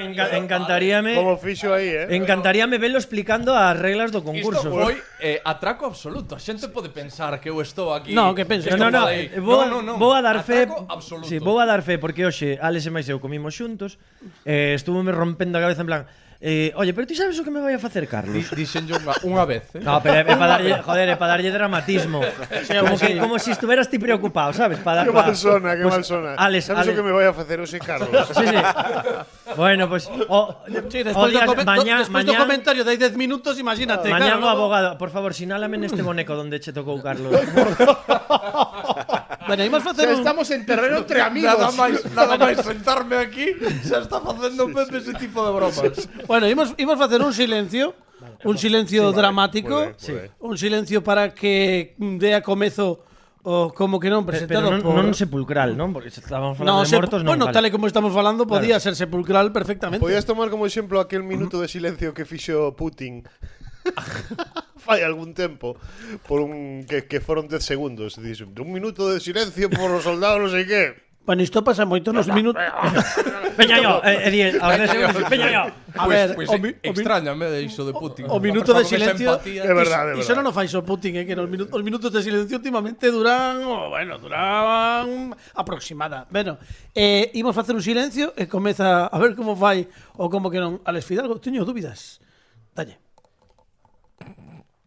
C: Enca encantaríame
F: Como fixo aí, eh?
C: encantaríame velo explicando as reglas do
D: Isto
C: concurso.
D: foi eh, atraco absoluto. A xente pode pensar que eu estou aquí.
B: No, que penso.
D: que
C: No, no, no,
D: estou aí.
C: eh, vou, a,
D: No, no, no.
C: vou a dar fe
D: Atraco absoluto.
C: sí, Vou a dar fe porque hoxe Alex e mais eu comimos xuntos eh, Estuvo me rompendo a cabeza en plan eh, Oye, pero ti sabes o que me vai a facer Carlos?
D: Di- Dixenlle unha, unha vez, eh?
C: No, pero é para darlle, joder, é para darlle dramatismo. Como que como si estuveras ti preocupado, sabes? Para
F: Que
C: para-
F: mal sona, que
C: Pues,
F: mal sona.
C: Alex,
F: Sabes o
C: Alex-
F: que me vai a facer hoxe, Carlos?
C: Sí, sí. Bueno, pues o,
B: Sí,
C: o
B: despois do,
C: días,
B: comen- do-
C: mañá,
B: despois do
C: mañá,
B: comentario de 10 minutos, imagínate. claro,
C: mañá o
B: logo
C: abogado, por favor, sinálame neste este boneco donde che tocou Carlos.
B: Bueno, imos
E: O sea,
B: facer un...
E: Estamos en terreno entre amigos.
D: Nada máis, nada máis sentarme aquí, xa está facendo Pepe ese tipo de bromas.
B: Bueno, imos, imos facer un silencio Un silencio dramático
C: Sí.
B: Un silencio para que dé a comezo O como que non
C: Pero
B: presentado
C: non,
B: pues por...
C: non sepulcral, non? Porque se estábamos
B: No,
C: falando de
B: se-
C: mortos, non.
B: bueno,
C: vale.
B: tal e como estamos falando Podía ser sepulcral perfectamente
F: Podías tomar como exemplo aquel minuto de silencio que fixo Putin fai algún tempo por un que, que foron 10 segundos, dixo, un minuto de silencio por os soldados, non sei que.
B: Bueno, isto pasa moito nos minutos
C: Veña yo, eh, eh, di- aos dez segundos, veña yo.
B: A ver,
D: pues,
B: o mi- o mi-
D: extrañame de iso de Putin.
B: O minuto de
D: Con esa
B: silencio
D: empatía.
F: É verdade, é
B: Iso non
F: verdade.
B: o fai só Putin, eh, que nos minutos, os minutos de silencio últimamente duran, oh, bueno, duraban aproximada. Bueno, eh, imos facer un silencio e comeza a ver como fai ou como que non. Alex Fidalgo, teño dúbidas. Dalle.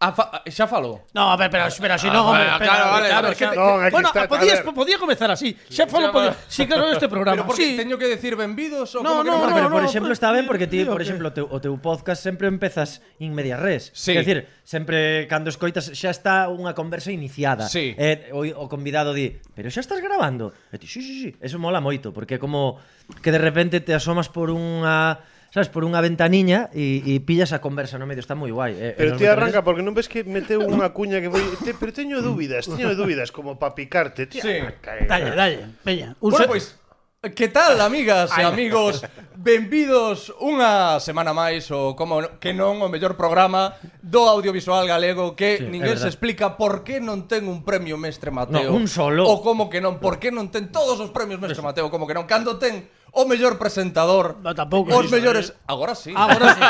D: Ah, fa- xa falou.
B: No, a ver, pero, pero si no,
D: Ah,
B: hombre,
D: bueno,
B: espera,
D: claro, vale,
B: claro,
D: vale,
B: xa-
F: que- Non, aquí
B: bueno,
F: está,
B: podías,
F: a ver.
B: podía comezar así. Xa falou,
D: vale.
B: podía- sí, claro, este programa.
D: Pero porque
B: sí.
D: teño que decir benvidos ou
B: No,
D: como que
B: no,
D: non?
C: No, pero
B: no,
C: por
B: no,
C: exemplo
B: pues,
C: está ben porque ti,
B: digo
C: por
B: que-
C: exemplo, o teu, o teu podcast sempre empezas in media res.
D: Sí.
C: É dicir, sempre cando escoitas xa está unha conversa iniciada.
D: Sí.
C: E o, o convidado di, "Pero xa estás grabando?" E ti, "Sí, sí, sí." Eso mola moito porque é como que de repente te asomas por unha sabes, por unha ventaniña e, e pillas a conversa no medio, está moi guai. eh, E- e
F: Pero
C: nos
F: ti
C: meteremos-
F: arranca porque non ves que meteu unha cuña que foi, te, pero teño dúbidas, teño dúbidas como para picarte, ti.
D: Sí.
B: Dalle, dalle. Veña, un
D: Bueno, pues-
B: se-
D: pois, que tal, amigas e amigos? Benvidos unha semana máis ou como no- que non o mellor programa do audiovisual galego que
C: Sí, é
D: sí, ninguén se
C: verdad.
D: explica por que non ten un premio Mestre
C: No,
D: Mateo.
C: un solo.
D: Ou como que non, por que non ten todos os premios Mestre Mateo, como que non. Cando ten o mellor presentador,
B: No, tampouco
D: os
B: iso,
D: mellores... Agora sí.
B: Agora sí.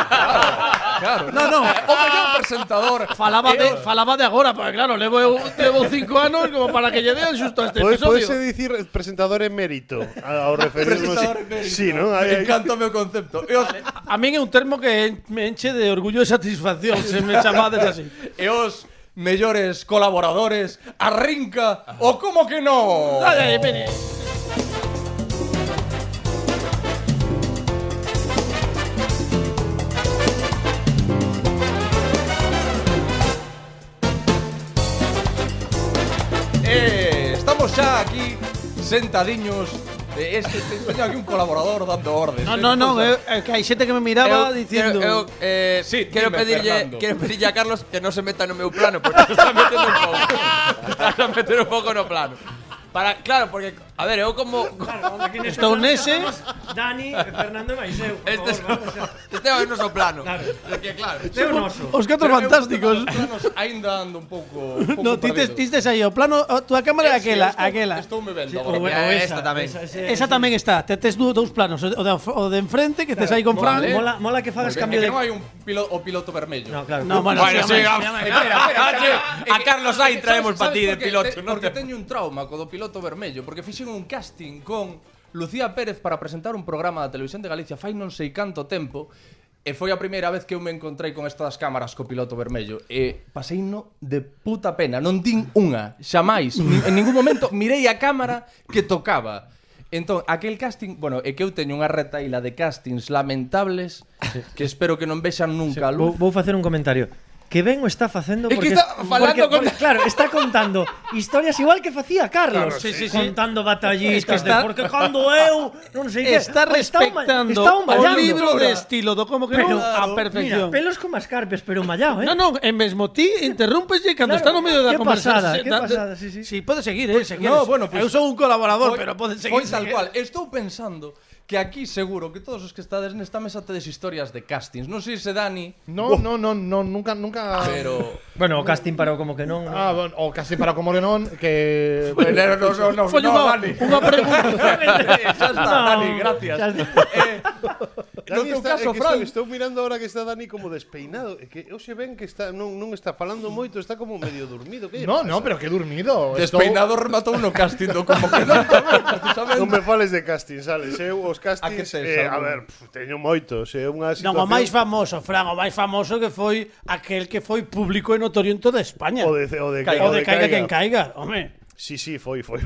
D: Claro.
B: No, no.
D: O mellor presentador.
B: Falaba
D: e
B: de,
D: os-
B: falaba de agora, porque claro, levo, eu- levo cinco anos como para que lle dean xusto a este
F: Podes,
B: episodio.
F: podes dicir presentador emérito a- ao referirnos.
D: Presentador emérito.
F: Sí, non?
D: Me
F: Ai, ai.
D: encanta o meu concepto. E os,
B: A min é un termo que me enche de orgullo e satisfacción se me chamades así.
D: e os mellores colaboradores arrinca o como que no.
B: Dale, vene.
D: Eh, xa aquí sentadiños eh, este, este, teño aquí un colaborador dando órdenes.
B: No, no, no,
D: Entonces,
B: eh, eh, que hai xente que me miraba
H: Eu-
B: dicindo...
H: eu- eu, eh,
D: Sí,
H: quero
D: dime,
H: pedirlle,
D: Fernando.
H: quero pedirlle a Carlos que non se meta no meu plano, porque está metendo un pouco. Está metendo un pouco no plano. Para, claro, porque a ver, eu como este
B: Estou nese.
C: Dani, Fernando e máis eu.
H: este é este é o noso plano. É
B: eh.
H: que claro.
C: Este é o noso.
B: Os catro
D: pero eu
B: fantásticos.
D: os planos Ainda ando un pouco, un pouco
B: No, ti tes, ti
D: perdido.
B: tes aí o plano, o- tú a cámara é
D: Eh, sí,
B: aquela,
D: estou-
B: aquela.
D: Estou me
C: O,
D: vendo.
C: o
D: agora.
C: esa,
H: esta tamén.
C: Esa, ese-
B: Esa tamén está, te tes dú- dous planos, o de, o de enfrente que tes aí con Fran.
D: Vale.
C: Mola, mola que fagas
D: Porque
C: cambio de...
D: que non hai un pilo- o piloto vermello.
C: No, claro.
B: No, bueno,
H: Bueno,
B: sí,
H: sí,
B: amén.
H: vamos.
D: Espera, espera, espera.
H: Ah, A Carlos Sainz traemos pa
D: ¿Sabes
H: ti de
D: por qué?
H: piloto,
D: Te-
H: non
D: Porque
H: te-
D: teño un trauma co do piloto vermello, porque fixen un casting con Lucía Pérez para presentar un programa da televisión de Galicia fai non sei canto tempo, e foi a primeira vez que eu me encontrei con estas cámaras co piloto vermello. E pasei no de puta pena, non din unha, xamais, Ni- en ningún momento mirei a cámara que tocaba. Entón, aquel casting, bueno, é que eu teño unha retaíla de castings lamentables que espero que non vexan nunca a luz.
C: Vou, vou facer un comentario. Que ben o está facendo
D: É que
C: porque...
D: está falando
C: porque,
D: con-
C: porque, claro, está contando historias igual que facía Carlos.
B: sí, sí, sí.
C: Contando
B: Es
C: batallitas
B: que está-
C: de porque cando eu... Non sei que...
B: Está
C: Pois está un ma-
B: respectando
C: está
B: o
C: un mallando.
B: libro de estilo do como que
C: Pero,
B: non a perfección.
C: Mira, pelos como as carpes, pero mallado, eh?
B: No, no, en mesmo ti interrumpeslle cando está
C: Claro,
B: no medio da
C: qué
B: conversación.
C: pasada, qué
B: Da-
C: pasada, sí, sí.
B: Sí, pode seguir, eh, se queres.
D: no, bueno, pues-
B: eu sou un colaborador,
D: Foi-
B: pero pode seguir. ¿eh?
D: Foi
B: se
D: tal
B: queres.
D: cual. Estou pensando que aquí seguro que todos os que estades nesta mesa tedes historias de castings. Non sei se Dani,
E: No, no, no, no, nunca, nunca.
D: pero
C: Bueno, o casting parou como que non.
E: Ah, bueno, o casi para como León, que.
D: Bueno, no,
F: pues,
D: no, no,
B: Foi
D: no,
B: unha,
D: Dani.
B: unha pregunta.
D: Xa está, Dani, gracias.
C: xa está.
D: Eh, no
F: Dani
D: teu
F: está-
D: caso,
F: é que
D: Fran.
F: estou, estou mirando ahora que está Dani como despeinado, é que eu se ven que está non, non está falando moito, está como medio dormido, que lle
E: No,
F: pasa?
E: no, pero que he dormido. Estou-
D: Despeinado rematou no casting do como que non, tamén, precisamente.
F: Non me fales de castings, sales, eu os
D: A Ah, que
F: castings,
D: tes,
F: eh, a
D: algún?
F: ver, pf, teño moitos, é unha
B: Non,
F: situación
B: o máis famoso, Fran, o máis famoso que foi aquel que foi público e notorio en toda España.
F: o de o de,
B: o de caiga quen caiga, home.
F: Sí, sí, foi, foi.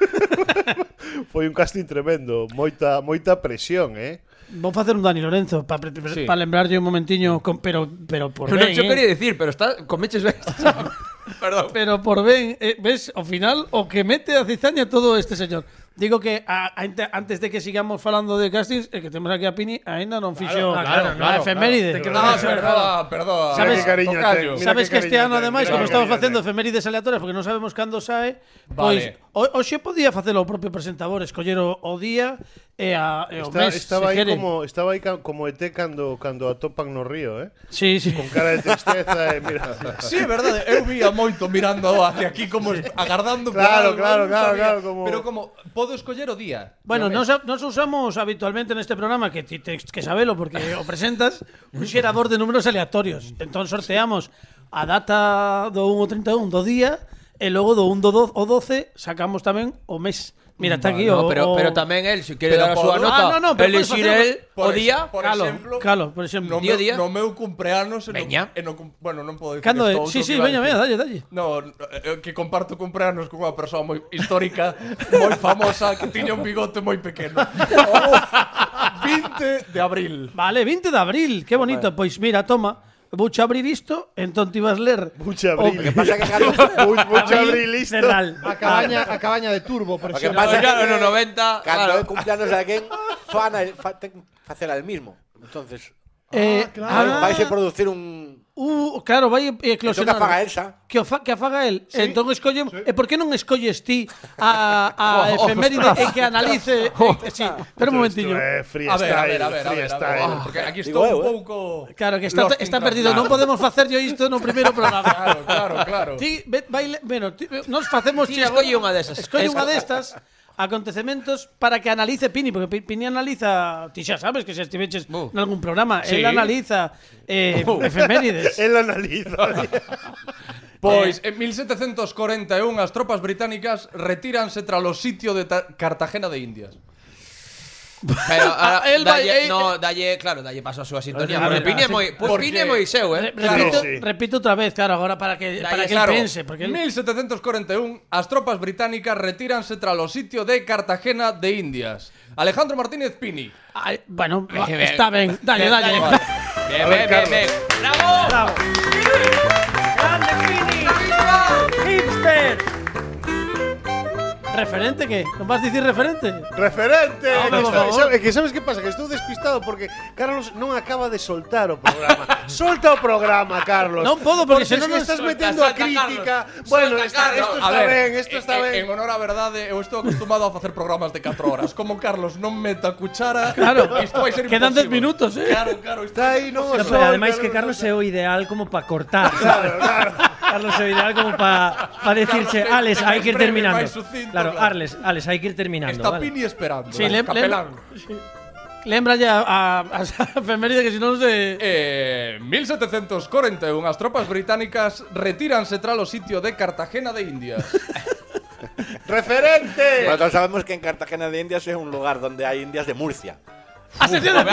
F: foi un casting tremendo, moita moita presión, eh.
B: Vou facer un Dani Lorenzo para
D: Sí.
B: pa lembrarlle un momentiño, con- pero pero por
H: Eu non
B: ben,
H: xo quería
B: eh.
H: dicir, pero está comeches ben. Perdón.
B: pero por ben, eh, ves, ao final o que mete a cizaña é todo este señor. Digo que a, a, ante- antes de que sigamos falando de castings, é que temos aquí a Pini, aínda non fixo
E: claro,
B: a
E: claro,
B: efeméride.
E: claro. Te
D: Ah,
F: pues,
D: perdoa, perdoa.
B: Sabes-
F: Mira que cariño
D: tocayo.
F: ten, mira
B: Sabes
F: que
B: que este
F: cariño
B: ano,
F: ten,
B: ademais,
F: mira
B: como
F: que
B: estamos
F: cariño
B: facendo
F: ten.
B: efemérides aleatorias porque non sabemos cando sae,
D: Vale.
B: pois o- hoxe podía facelo o propio presentador, escoller o, o día e, a, e o
F: Está-
B: mes,
F: estaba
B: se
F: aí
B: quere.
F: como estaba aí ca- como ET cando cando atopan no río, eh.
B: Sí, sí.
F: Con cara de tristeza e mira.
D: Sí, é verdade, eu vía moito mirando hacia aquí como agardando por
F: Claro,
D: algo,
F: claro,
D: non
F: claro,
D: sabía.
F: claro, como-
D: Pero como podo escoller o día.
B: Bueno,
D: non
B: nos, nos usamos habitualmente en este programa, que ti tens que sabelo porque o presentas, un xerador de números aleatorios. Entón sorteamos a data do 1 ao 31 do día e logo do 1 do 12 ao 12 sacamos tamén o mes. Mira, está aquí o...
H: No, pero,
B: o-
H: pero tamén el, se quere
D: Pero
H: dar a súa
D: podo-
H: nota,
B: Ah, no, no, pero podes
H: elixir
B: facelo-
H: el o
D: Por
H: día.
D: ex- por
H: calo.
D: exemplo,
B: Calo, por exemplo.
D: No
H: Día
D: meu,
H: a día.
D: no meu cumpleanos e no-
H: Veña.
D: e no cum- bueno, non podo dicir
B: Cando é?
D: isto, outro
B: Sí, sí,
D: que iba a
B: veña, veña,
D: dicir.
B: dalle, dalle.
D: No, eh, que comparto cumpleanos con unha persoa moi histórica, moi famosa, que tiña un bigote moi pequeno. Uf, 20 de abril.
B: Vale, 20 de abril, qué bonito. Pois mira, toma, vouche abrir isto, entón ti vas ler.
F: Mucha abril.
G: Lo que pasa que Carlos,
F: Mucha, mucha abril listo.
C: Cerral.
D: Ah,
E: A cabaña, a cabaña de turbo, por
G: lo que
E: ejemplo.
G: pasa
H: claro,
G: que
H: no 90,
G: Cuando
H: claro.
G: es cumpleaños de alguien, fan al- fa- ten que hacer al mismo. Entonces,
B: Eh,
G: claro,
B: ah,
G: vais a producir un.
B: Uh, claro, vai
G: Entón
B: eclosionar.
G: que afaga Elsa.
B: Que, o fa, que afaga el. Entón escollen... E por que non escolles ti a, a efeméride e que analice... e que- sí, pero un momentiño.
F: Eh,
D: A ver,
F: freestyle,
D: a ver, a ver, a ver, a ver.
F: freestyle.
D: porque aquí
G: Digo
D: estou
G: eu,
D: un
G: eh.
D: pouco
B: Claro, que está,
D: lost in
B: está
D: trans-
B: perdido. Non podemos facer yo isto no primeiro programa.
D: Claro, claro, claro.
B: Ti, ve- vai, le- bueno, ti, nos facemos...
H: Ti escolle unha desas.
B: Escolle
H: Esa.
B: unha destas acontecementos para que analice Pini, porque Pi- Pini analiza, ti xa sabes que se estiveches
H: Bu.
B: nalgún programa,
H: Sí.
B: él analiza eh, efemérides.
F: Él analiza.
D: Pois, en 1741 as tropas británicas retíranse tras o sitio de Ta- Cartagena de Indias.
H: Pero ahora,
B: El vai-
H: dalle,
B: eh,
H: no, dalle, claro, dalle paso a súa sintonía.
B: A
H: Porque
B: ver,
H: Pini é
B: así-
H: moi, pois
D: porque-
H: Pini é moi seu,
B: Re-
H: eh.
B: repito,
F: sí.
B: repito otra vez, claro, ahora para que, para
H: Dale,
D: Eh,
B: que él
H: claro.
B: piense. Porque él-
D: 1741, as tropas británicas retíranse tras o sitio de Cartagena de Indias. Alejandro Martínez Pini.
B: Ay, bueno, va,
H: Eh,
B: está bien. Dale, dale.
H: Bien, bien, bien, bien. Bravo.
C: Grande Fini! Hipster!
B: ¿Referente qué? ¿No vas a decir referente?
F: Referente.
B: Ah,
F: que,
B: por
F: está-
B: favor.
F: sabe- que sabes que pasa? Que estou despistado porque Carlos non acaba de soltar o programa. Solta o programa, Carlos.
B: Non podo, porque senón
F: non
B: non
F: estás
B: solta,
F: metendo a
H: solta,
F: crítica.
H: Carlos.
F: Bueno,
H: Solta,
F: está,
H: Carlos.
F: esto
H: A
F: está
H: ver,
F: ben, esto está
D: eh, en,
F: ben.
D: en honor á verdade, eu estou acostumado a facer programas de 4 horas. Como Carlos non meta cuchara,
B: Claro,
D: isto vai ser
B: quedan 10
D: imposible.
B: minutos, eh.
D: Claro, claro, isto
F: Está aí, non o
B: pues,
C: No, pero
F: solta,
C: ademais que
F: non o
C: Carlos
F: solta.
C: é o ideal como para cortar, ¿sabes? Carlos é o ideal como para pa decirche, Alex,
D: Carlos, te- te
C: hai que ir
D: máis breve,
C: terminando.
D: máis sucinto,
C: Claro,
D: claro.
C: Arles, Alex, hai que ir terminando,
D: está
C: vale.
D: Pini esperando.
B: Sí,
D: eh,
B: lem- lem-
D: Capelán.
B: Lembralle a, a, a esa efeméride que si non se...
D: Eh, 1741, as tropas británicas retíranse tras o sitio de Cartagena de India.
F: Referente.
G: Pero todos sabemos que en Cartagena de Indias es un lugar donde hay indias de Murcia.
B: ¡A sección de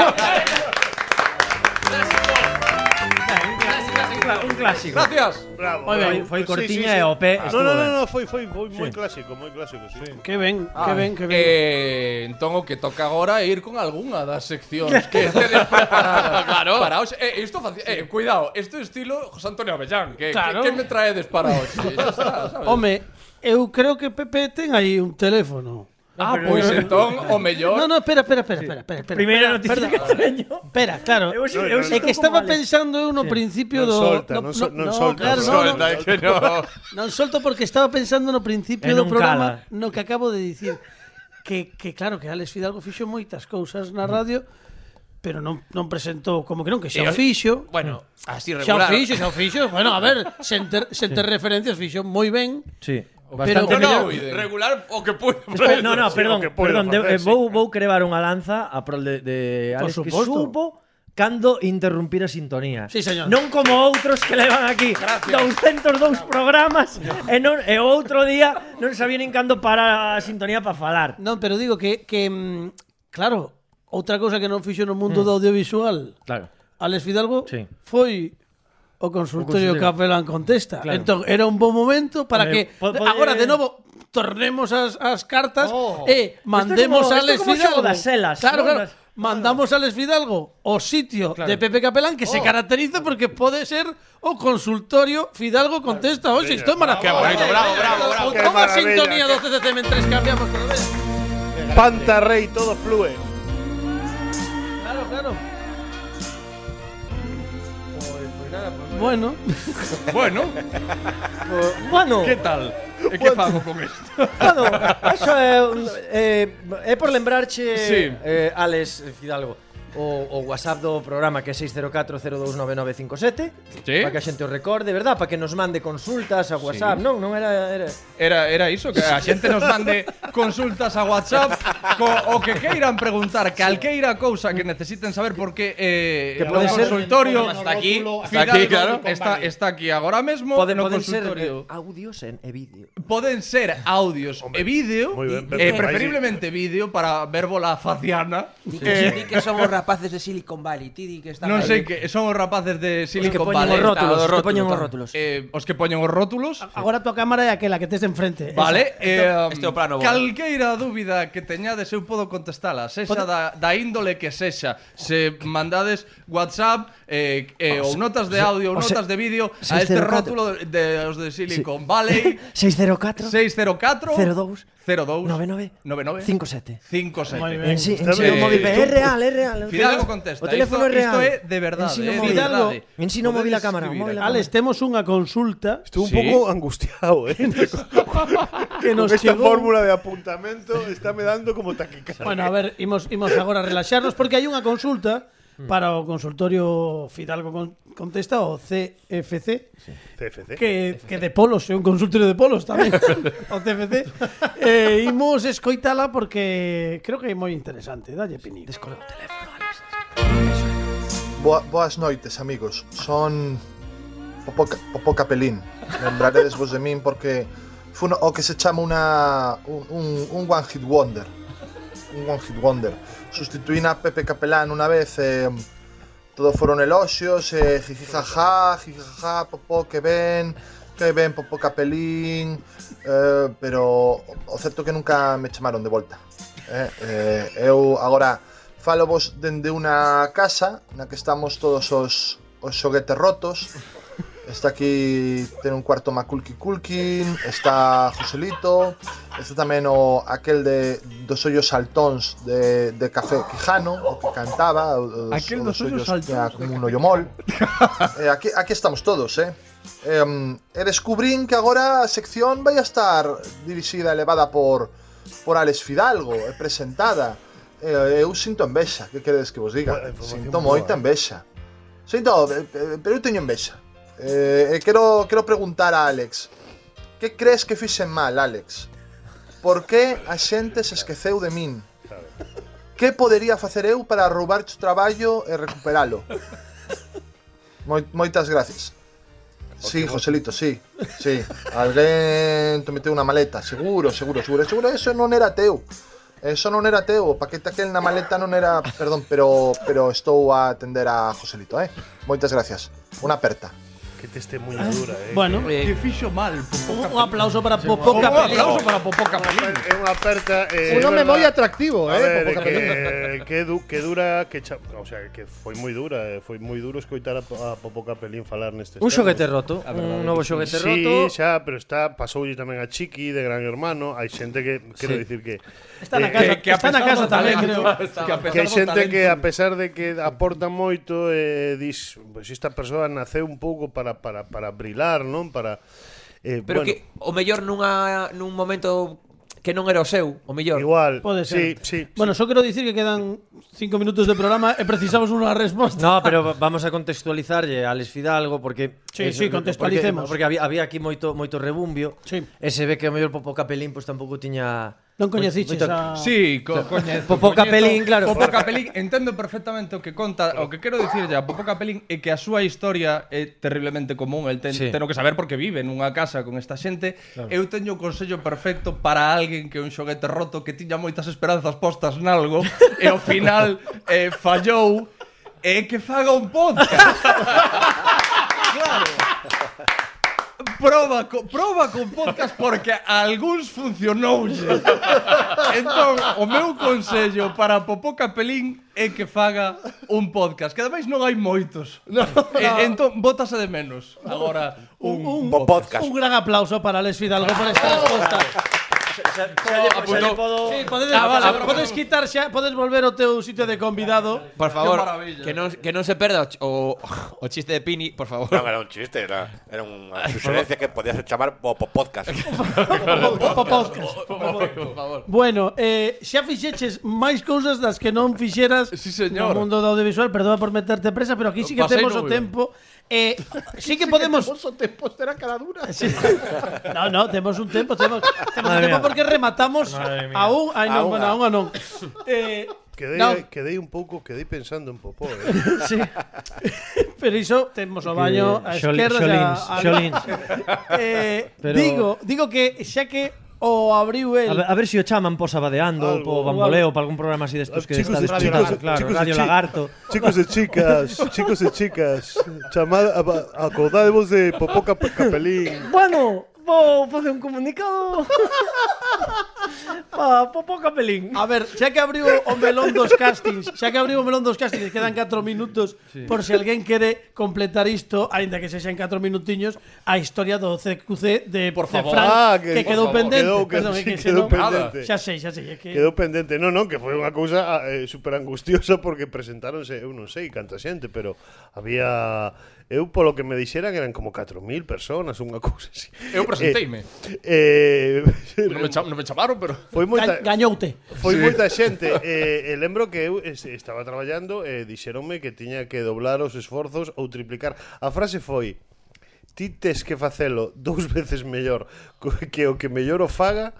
C: Un clásico.
D: Gracias.
F: Bravo.
B: Moi ben,
C: foi cortiña e OP,
F: Ah, No,
C: estuvo
F: no, no,
C: ben.
F: no, foi foi foi moi clásico, moi clásico, sí.
B: Que ben, que ben, que ben.
D: Eh, entón o que toca agora é ir con algunha das seccións que tedes preparadas. claro. Para hoxe, eh, isto faci... eh, cuidado, isto é estilo José Antonio Avellán, que,
B: Claro.
D: que, que me traedes para hoxe? Ya está, ¿sabes?
B: Home, eu creo que Pepe ten aí un teléfono.
D: ah, pois entón o mellor
B: No, no, espera, espera, espera, espera, espera. espera espera,
C: Primeira noticia
B: espera.
C: que teño.
B: Espera, claro.
C: Eu si-
F: No,
C: eu
F: no,
C: si
B: É
C: estou
B: que estaba
C: como Alex.
B: pensando eu no principio
F: Non
B: do
F: solta, non sol- non solta,
B: claro,
F: non
B: no,
F: solta.
B: no,
H: Anda, que no.
B: Non solto porque estaba pensando no principio
C: E
B: do
C: non
B: programa
C: cala.
B: no que acabo de dicir. Que, que claro, que Alex Fidalgo fixo moitas cousas na radio, pero non, non presentou como que non, que xa o
H: E-
B: fixo.
H: Bueno, así
B: Xa o
H: regular.
B: fixo, xa o fixo. Bueno, a ver, sen ter, sen ter referencias fixo moi ben.
C: Sí.
B: Pero-
C: Bastante
H: No, no,
C: mellor.
H: regular o que puedo.
C: Espe- No, no,
F: Sí,
C: perdón,
F: o que puedo
C: perdón, de,
F: facer,
C: eh,
F: sí.
C: vou vou crevar unha lanza a prol de, de
B: Por
C: Alex que
B: suposto.
C: supo cando interrumpir a sintonía.
B: Sí, señor.
C: Non como outros que levan aquí 202 programas e non e outro día non sabía nin cando para a sintonía para falar.
B: Non, pero digo que, que mm, claro, outra cousa que non fixo no mundo do audiovisual
C: Claro.
B: Alex Fidalgo
C: Sí.
B: foi o consultorio
C: O consultorio.
B: Capelán contesta.
C: Claro.
B: Entón, era un bon momento para
C: Hombre,
B: que
C: po- podía-
B: agora de novo tornemos as, as cartas
C: Oh.
B: e mandemos
C: Isto é como-
B: a Alex
C: isto é como
B: Fidalgo.
C: xogo das elas,
B: claro,
C: non?
B: claro.
C: Das-
B: Mandamos a Alex Fidalgo o sitio de Pepe Capelán que
C: Oh.
B: se caracteriza porque pode ser o consultorio Fidalgo contesta. Oxe, isto é maravilloso.
H: bonito, bravo, bravo, bravo.
F: Qué
B: Toma a
F: maravilla,
B: sintonía
F: qué-
B: do CCC mentres cambiamos por vez.
F: Panta Rey, todo flúe.
B: Claro, claro.
H: pues
B: Bueno,
D: Bueno,
C: Bueno,
D: que tal? E que fago con isto?
C: bueno, eso é un- eh, é por lembrarche
D: Sí.
C: eh, Alex Fidalgo o, o WhatsApp do programa que é 604029957
D: Sí.
C: para que a xente o recorde, verdad? Para que nos mande consultas a WhatsApp, sí. non? Non era, era...
D: Era, era iso, que a xente nos mande consultas a WhatsApp co, o que queiran preguntar calqueira cousa que necesiten saber porque eh,
C: Que pode
D: o
C: ser-
D: consultorio
H: Hasta aquí. Hasta
D: Fidalgo
H: aquí, claro.
D: está, está aquí agora mesmo
C: Poden,
D: no
C: poden ser eh,
D: consultorio.
C: audios en, e vídeo.
D: Poden ser audios e vídeo,
F: moi ben,
D: e-
F: pero
D: eh,
F: aí sí.
D: preferiblemente vídeo para ver bola faciana.
I: Di que somos rapaces de Silicon Valley, ti di que estamos
D: Non
I: aí.
D: sei que son os rapaces
C: Os
D: de
C: que
D: Silicon
C: poñen os
D: Valley.
C: rótulos, os que
H: rótulo,
C: poñen os
H: tal.
C: rótulos. Ah,
D: Eh, os que poñen os rótulos.
B: agora tu cámara é aquela que tes enfrente.
D: Vale, eh,
H: este é o plano, bueno.
D: calqueira dúbida que teñades eu podo contestala, sexa da, da índole que sexa. Se mandades WhatsApp eh, eh, ou notas de audio
C: o
D: ou
C: Ah, se-
D: notas de vídeo a
C: seis
D: este
C: cero catro.
D: rótulo de, de os de Silicon Valley
C: 604
D: 604
C: 02
D: 02
C: 99
D: 99
C: 57.
D: 57.
B: Moi ben.
C: En, si, en
F: Está
C: sino
F: ben.
C: móvil,
F: Eh,
C: é real, é real.
D: Fidalgo contesta.
C: O teléfono
D: isto,
C: é real.
D: Isto é de verdade.
C: Ensino
D: eh, de
C: móvil.
D: verdade.
C: Fidalgo, ensino
D: Podedes
C: móvil a cámara,
D: escribir.
C: móvil a
B: Alex, temos unha consulta
F: Estou un
D: Sí.
F: pouco angustiado, eh.
B: que
F: Con
B: nos
F: esta
B: chegou.
F: fórmula de apuntamento está me dando como taquicardia.
B: Bueno, a ver, imos, imos agora relaxarnos porque hai unha consulta
C: Mm.
B: para o consultorio Fidalgo con, contesta o CFC
F: CFC.
B: que, que de polos, é un consultorio de polos tamén o CFC eh, imos escoitala porque creo que é moi interesante dalle pinido
J: Boa- boas noites, amigos. Son Popoca, Popoca Pelín. Lembraredes vos de min porque foi Eh, o que se chama una, un, un, un one hit wonder. Un one hit wonder. Sustituín a Pepe Capelán unha vez e todo foron eloxios, e jiji jaja, jiji jaja, popó, que ben, que ben, popó capelín, eh, pero o certo é que nunca me chamaron de volta. Eh, eh, eu agora falo vos dende unha casa na que estamos todos os, os xoguetes rotos,
E: Está aquí, ten un cuarto Maculki Kulkin, está Joselito, está tamén o aquel de dos ollos saltóns de, de Café Quijano, o que cantaba, o,
K: Aquel dos ollos
E: que
K: saltóns
E: era
K: de
E: como un ollo mol. Eh, aquí, aquí estamos todos, eh. Em, e descubrín que agora a sección vai a estar dirixida e levada por por Alex Fidalgo, e presentada. Eh, eu sinto envexa, que queredes que vos diga? Sinto moita envexa. Sinto, eh, eh, pero eu teño envexa. Eh, eh, quero, quero preguntar a Alex. Que crees que fixen mal, Alex? Por que a xente se esqueceu de min? Que podería facer eu para roubar o traballo e recuperalo? Moi, moitas gracias. Sí, Joselito, sí. Sí. Alguén te meteu unha maleta, seguro, seguro, seguro, seguro. Eso non era teu. Eso non era teu, o paquete aquel na maleta non era, perdón, pero pero estou a atender a Joselito, eh. Moitas gracias. Unha aperta.
F: Que te esté muy dura, eh.
B: Bueno.
F: que, que fixo mal.
B: Un aplauso para Popó Capelín.
F: para Popoca Pelín. Es una aperta. eh,
B: Uno
F: es
B: me voy
F: verdad.
B: atractivo, eh,
F: A ver,
B: Popoca
F: que, que, du- que dura, que cha- o sea, que foi moi dura, eh, foi moi duro escoitar a, Po- a Popoca Pelín falar nestes
C: Un
F: termos.
C: xoguete roto, A verdade un novo que sí. xoguete roto.
F: Sí, xa, pero está pasoulle tamén a Chiqui de Gran Hermano, hai xente que quero
C: Sí.
F: dicir Eh, que
B: Está na casa- está na casa tamén, creo.
F: Que, a pesar do talento- que hai xente que a pesar de que aporta moito eh, dis, pois esta persoa naceu un pouco para para para brilar, non? Para eh,
H: Pero
F: bueno,
H: que o mellor nunha nun momento que non era o seu, o mellor.
F: Igual.
B: Pode ser.
F: Sí, sí.
B: Bueno, só quero dicir que quedan cinco minutos de programa e precisamos unha resposta.
C: No, pero va- vamos a contextualizarlle a Alex Fidalgo porque
B: Sí, sí, contextualicemos.
C: Porque, porque había, había aquí moito moito rebumbio.
B: Sí.
C: E se ve que o mellor Popó Capelín pois tampouco tiña
B: Non coñeciches
C: moito-
B: a-
D: Sí,
C: O
D: co
C: sea,
D: coñezo.
C: Popó
D: coñezo.
C: Capelín, claro.
D: Popó Capelín, entendo perfectamente o que conta, o que quero dicirlle a Popó Capelín é que a súa historia é terriblemente común, el ten,
C: Sí.
D: teno que saber porque vive nunha casa con esta xente. Eu teño o consello perfecto para alguén que é un xoguete roto que tiña moitas esperanzas postas nalgo e ao final eh, fallou é que faga un podcast. Proba, co, proba con podcast porque a algúns funcionoulle. Entón, o meu consello para Popó Capelín é que faga un podcast, que ademais non hai moitos. No, E, entón, botase de menos agora un, un,
B: un, podcast. un gran aplauso para Alex Fidalgo por esta resposta.
C: podo-
B: Sí, podedes,
H: Ah, vale,
B: podes quitar xa, podes volver ao teu sitio de convidado.
H: Por favor,
B: Que maravilla.
H: que non, que non se perda o, ch- o, o chiste de Pini, por favor.
L: No, era un chiste, era, era una sugerencia que podías llamar Popo Podcast.
B: Popo podcast.
H: Por favor.
B: Bueno, eh, xa fixeches máis cousas das que non fixeras sí,
D: señor.
B: no mundo do audiovisual. Perdona por meterte presa, pero aquí sí que
D: Pasei
B: temos o
D: número.
B: tempo. Eh, sí que podemos...
F: te postera cara dura.
B: Sí. No, no, temos un tempo, temos, temos un
C: Madre
B: tempo
C: mía.
B: porque rematamos
C: Madre mía.
B: a un, ai
L: A
B: non,
L: unha.
B: bueno, a unha non. Eh,
F: quedei,
B: no.
F: quedei un pouco, quedei pensando en Popó, eh.
C: Sí.
B: Pero iso temos o baño a
C: Xol-
B: esquerda e a- a-
C: Xolín, Xolín.
B: Eh,
C: Pero-
B: digo, digo que xa que o abriu el
C: A ver, a ver se si o chaman po Sabadeando, po
F: Algo,
C: Bamboleo, pa algún programa así destos que
F: Chicos
C: está
F: de-
C: despertar,
F: chicos de-
C: claro,
F: chicos de
C: Radio
F: chi-
C: Lagarto.
F: Chicos e chicas, chicos e chicas, chamad, a- acordadevos de Popó Cap- Capelín.
C: Bueno, vou facer un comunicado. pa Popó Capelín.
F: Ah,
B: A ver, xa que abriu o melón dos castings, xa que abriu o melón dos castings, quedan 4 minutos sí. por se alguén quere completar isto, aínda que sexan 4 minutiños, a historia do CQC de
D: Por
B: de
D: favor.
B: Fran,
F: Ah,
B: que,
F: que- por
B: quedou
F: favor.
B: pendente.
F: Quedou- que-
B: Perdón, é que
F: sí,
B: se
F: quedou
B: non-
F: pendente.
B: Xa sei, xa sei, é que
F: Quedou pendente, non, non, que foi unha cousa eh, super angustiosa porque presentáronse, eu non sei canta xente, pero había eu polo que me dixeran eran como 4000 personas, unha cousa así.
D: Eu presenteime.
F: Eh,
D: Non
F: eh
D: me, cham, non me chamaron, pero...
F: foi moita
B: Ga- gañoute.
F: Foi moita xente e, e lembro que eu es- estaba traballando e dixeronme que tiña que doblar os esforzos ou triplicar. A frase foi Ti tes que facelo dous veces mellor co- que o que mellor o faga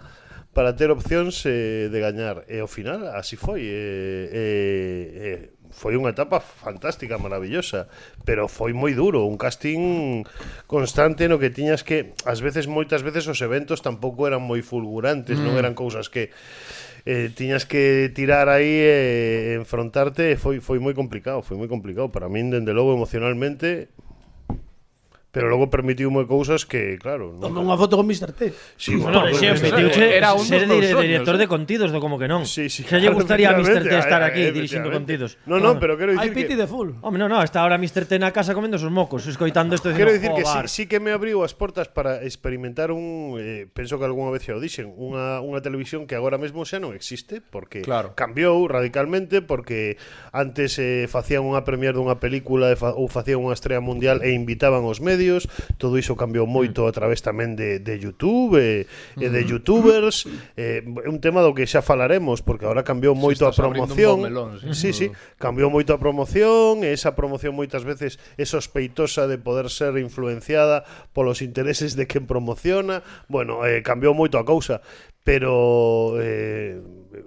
F: para ter opcións eh, de gañar. E ao final así foi. Eh, eh, eh, foi unha etapa fantástica, maravillosa, pero foi moi duro, un casting constante no que tiñas que ás veces moitas veces os eventos tampouco eran moi fulgurantes, non eran cousas que eh, tiñas que tirar aí e eh, enfrontarte e foi foi moi complicado, foi moi complicado para min dende logo emocionalmente Pero logo permitiume cousas que, claro,
B: Tome
F: non.
B: unha foto con Mr. T.
F: Sí,
C: Bueno,
F: bueno,
C: xe,
F: pues,
C: permitiuche
M: era un
C: ser
M: dos meus
C: dire-
M: sueños,
C: director
M: eh.
C: de contidos, do como que non.
F: Sí, sí.
C: que lle gustaría a Mr. T
F: efectivamente,
C: estar
F: eh,
C: aquí
F: eh,
C: dirixindo
F: efectivamente.
C: contidos.
F: No, no, pero quero
B: Hai
F: dicir
B: piti de
F: que
B: full.
C: Home, non, non, está ahora Mr. T na casa comendo os mocos, escoitando isto
F: Quero
C: dicindo,
F: dicir que sí,
C: "Joder".
F: sí que me abriu as portas para experimentar un eh, penso que algunha vez xa o dixen, unha unha televisión que agora mesmo xa non existe porque
M: Claro.
F: cambiou radicalmente porque antes eh, facían unha premiere dunha película e fa, ou facían unha estrela mundial e invitaban os medios, todo iso cambiou
M: Mm.
F: moito a través tamén de, de YouTube e, e de youtubers, eh, é un tema do que xa falaremos porque agora cambiou moito a
M: estás abrindo un
F: promoción.
M: bo melón, sin
F: sí, sí, cambiou moito a promoción e esa promoción moitas veces é sospeitosa de poder ser influenciada polos intereses de quen promociona bueno, eh, cambiou moito a cousa pero eh,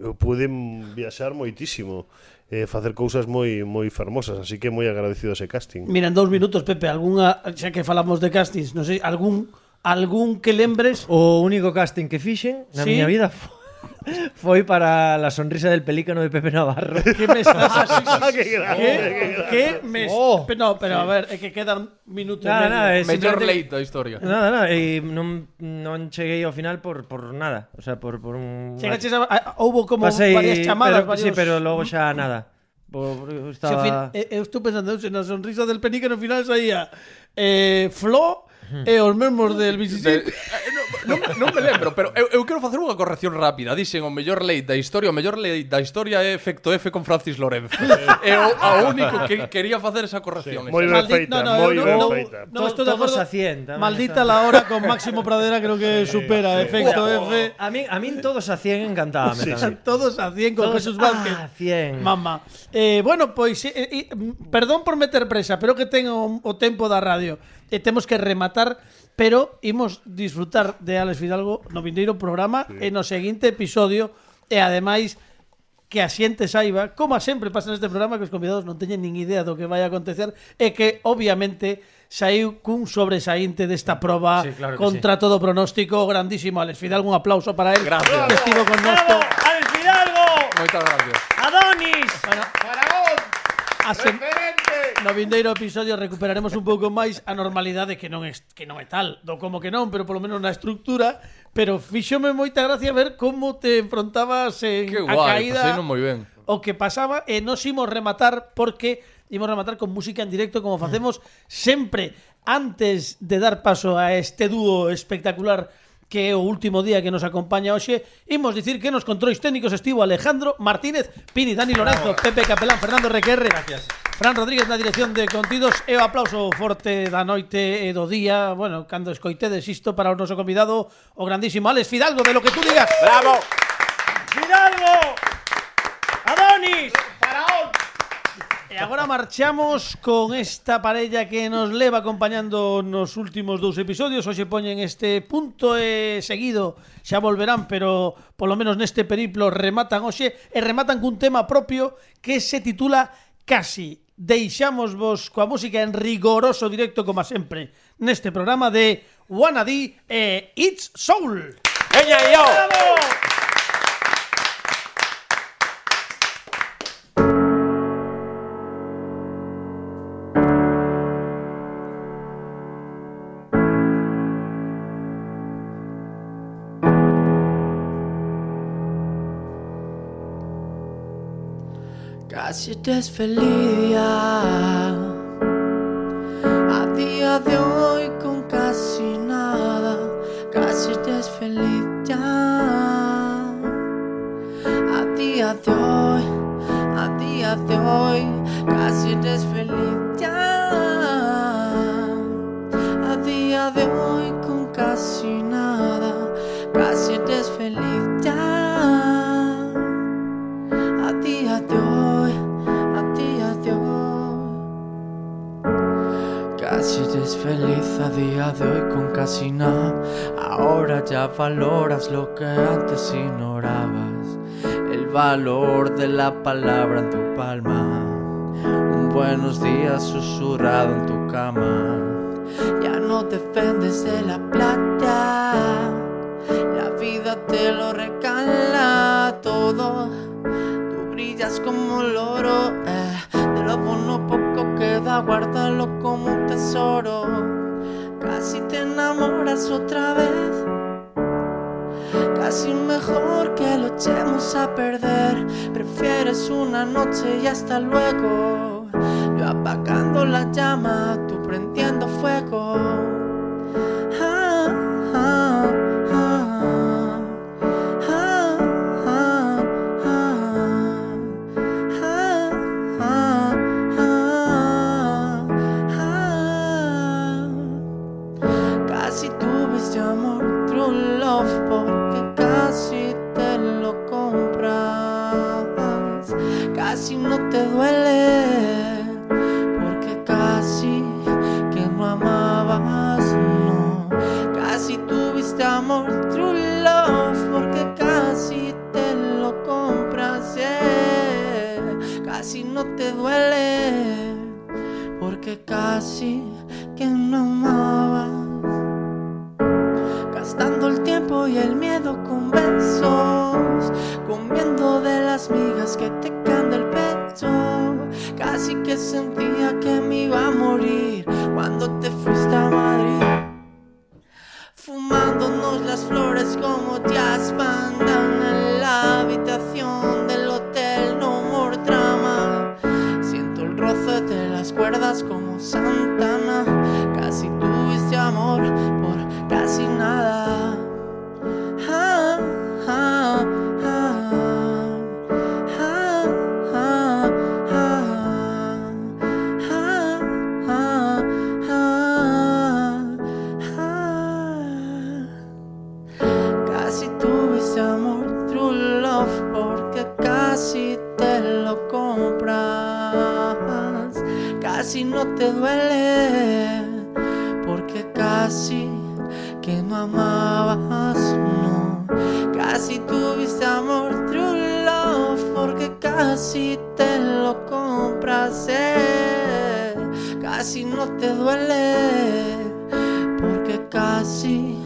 F: eu pude viaxar moitísimo eh, facer cousas moi moi fermosas así que moi agradecido a ese casting
B: Mira, en dous minutos, Pepe, algunha, xa que falamos de castings, non sei, algún algún que lembres
C: O único casting que fixen na
B: Sí.
C: miña vida fo- foi para la sonrisa del pelícano de Pepe Navarro.
B: que me estás así.
F: que grande,
B: que, que me
C: Oh.
B: pero, no, pero a ver, é que quedan minutos.
C: Nada,
B: e medio.
C: nada, é
D: Mellor
C: simplemente-
D: leito a historia.
C: Nada, nada, e non, non cheguei ao final por, por nada, o sea, por, por un...
B: Chegaches a, a, houbo como
C: Pasei,
B: varias chamadas,
C: pero,
B: varios...
C: Sí, pero logo xa nada. Por,
B: Se ao fin-
C: estaba...
B: eh, eu estou pensando eu, se na sonrisa del penique no final saía eh, Flo e os mesmos del
M: De-
B: Mississippi.
M: eh, no,
D: Non, non me lembro, pero eu, eu quero facer unha corrección rápida. Dixen o mellor lei da historia, o mellor lei da historia é efecto F con Francis Lorenzo. É o a único que quería facer esa corrección.
F: moi ben
B: Maldi-
F: feita, moi
B: eu
F: ben feita
C: To-
B: estou de acordo.
C: todos a cien, tamén
B: Maldita
C: está.
B: la hora con Máximo Pradera creo que supera efecto F.
C: A min, a min todos a 100 encantábame sí, tamén.
B: Todos a 100 con
C: Todos-
B: Jesús Vázquez.
C: ah, 100.
B: Mamá. Eh, bueno, pois eh, eh, mm, perdón por meter presa, pero que ten o, o tempo da radio. E temos que rematar, pero imos disfrutar de Alex Fidalgo no vindeiro programa e no seguinte episodio e ademais que a xente saiba, como a sempre pasa neste programa, que os convidados non teñen nin idea do que vai acontecer e que, obviamente, saiu cun sobresaínte desta proba
C: Sí, claro que
B: contra todo pronóstico grandísimo. Alex Fidalgo, un aplauso para él, que
D: Gracias.
B: estivo con
C: Bravo,
B: nosotros.
C: Alex Fidalgo!
D: Moitas gracias.
C: Adonis!
B: A sem- No vindeiro episodio recuperaremos un pouco máis a normalidade que non é, que non é tal, do como que non, pero polo menos na estructura, pero fíxome moita gracia ver como te enfrontabas en a
D: Que guai,
H: pues
B: caída.
D: pasei non moi ben.
B: O que pasaba e nos imos rematar porque imos rematar con música en directo como facemos sempre antes de dar paso a este dúo espectacular que é o último día que nos acompaña hoxe, imos dicir que nos controis técnicos estivo Alejandro Martínez, Pini, Dani Lorenzo, Pepe Capelán, Fernando Requerre, Gracias. Fran Rodríguez na dirección de contidos e o aplauso forte da noite e do día, bueno, cando escoitedes isto para o noso convidado, o grandísimo Alex Fidalgo, de lo que tú digas.
L: ¡Bravo!
C: Fidalgo! Adonis!
B: E agora marchamos con esta parella que nos leva acompañando nos últimos dous episodios. Hoxe poñen este punto e seguido xa volverán, pero polo menos neste periplo rematan hoxe e rematan cun tema propio que se titula Casi. Deixamos vos coa música en rigoroso directo como a sempre neste programa de Wanadi e It's Soul.
L: ¡Peña y yo!
H: Casi te es feliz ya. A día de hoy con casi nada, casi te es feliz ya. A día de hoy, a día de hoy, casi te es feliz ya. A día de hoy con casi nada, casi te es feliz ya. A ti, a ti hoy, a ti, a ti hoy. Casi te es feliz a día de hoy con casi nada. Ahora ya valoras lo que antes ignorabas. El valor de la palabra en tu palma. Un buenos días susurrado en tu cama. Ya no dependes de la plata. La vida te lo regala todo. Tú brillas como el oro, eh. de lo bueno poco queda, guárdalo como un tesoro.
L: palabras otra vez. Casi mejor que lo echemos a perder. Prefieres una noche y hasta luego. Yo apagando la llama, tú prendiendo fuego. Ah, ah, ah. Ah, ah, ah. Ah, ah, ah. Ah. Casi tuviste amor, true love, porque casi te lo comprabas. Casi no te duele, porque casi que no amabas, no. Casi tuviste amor, true love, porque casi te lo compras, yeah. Casi no te duele, porque casi que no amabas gastando el tiempo y el miedo con besos, comiendo de las migas que te caen del pecho. Casi que sentía que me iba a morir cuando te fuiste a Madrid. Fumándonos las flores como jazz bandana en la habitación del hotel No More Drama. Siento el roce de las cuerdas como Santana. Casi tuviste amor por casi nada. Ah, ah, ah. Ah, ah, ah. Ah, ah, ah. Ah. Casi tuviste amor, true love, porque casi te lo compras. Casi no te duele, porque casi que no amabas, no. Casi tuviste amor, true love, porque casi te lo compras. eh. Casi no te duele, porque casi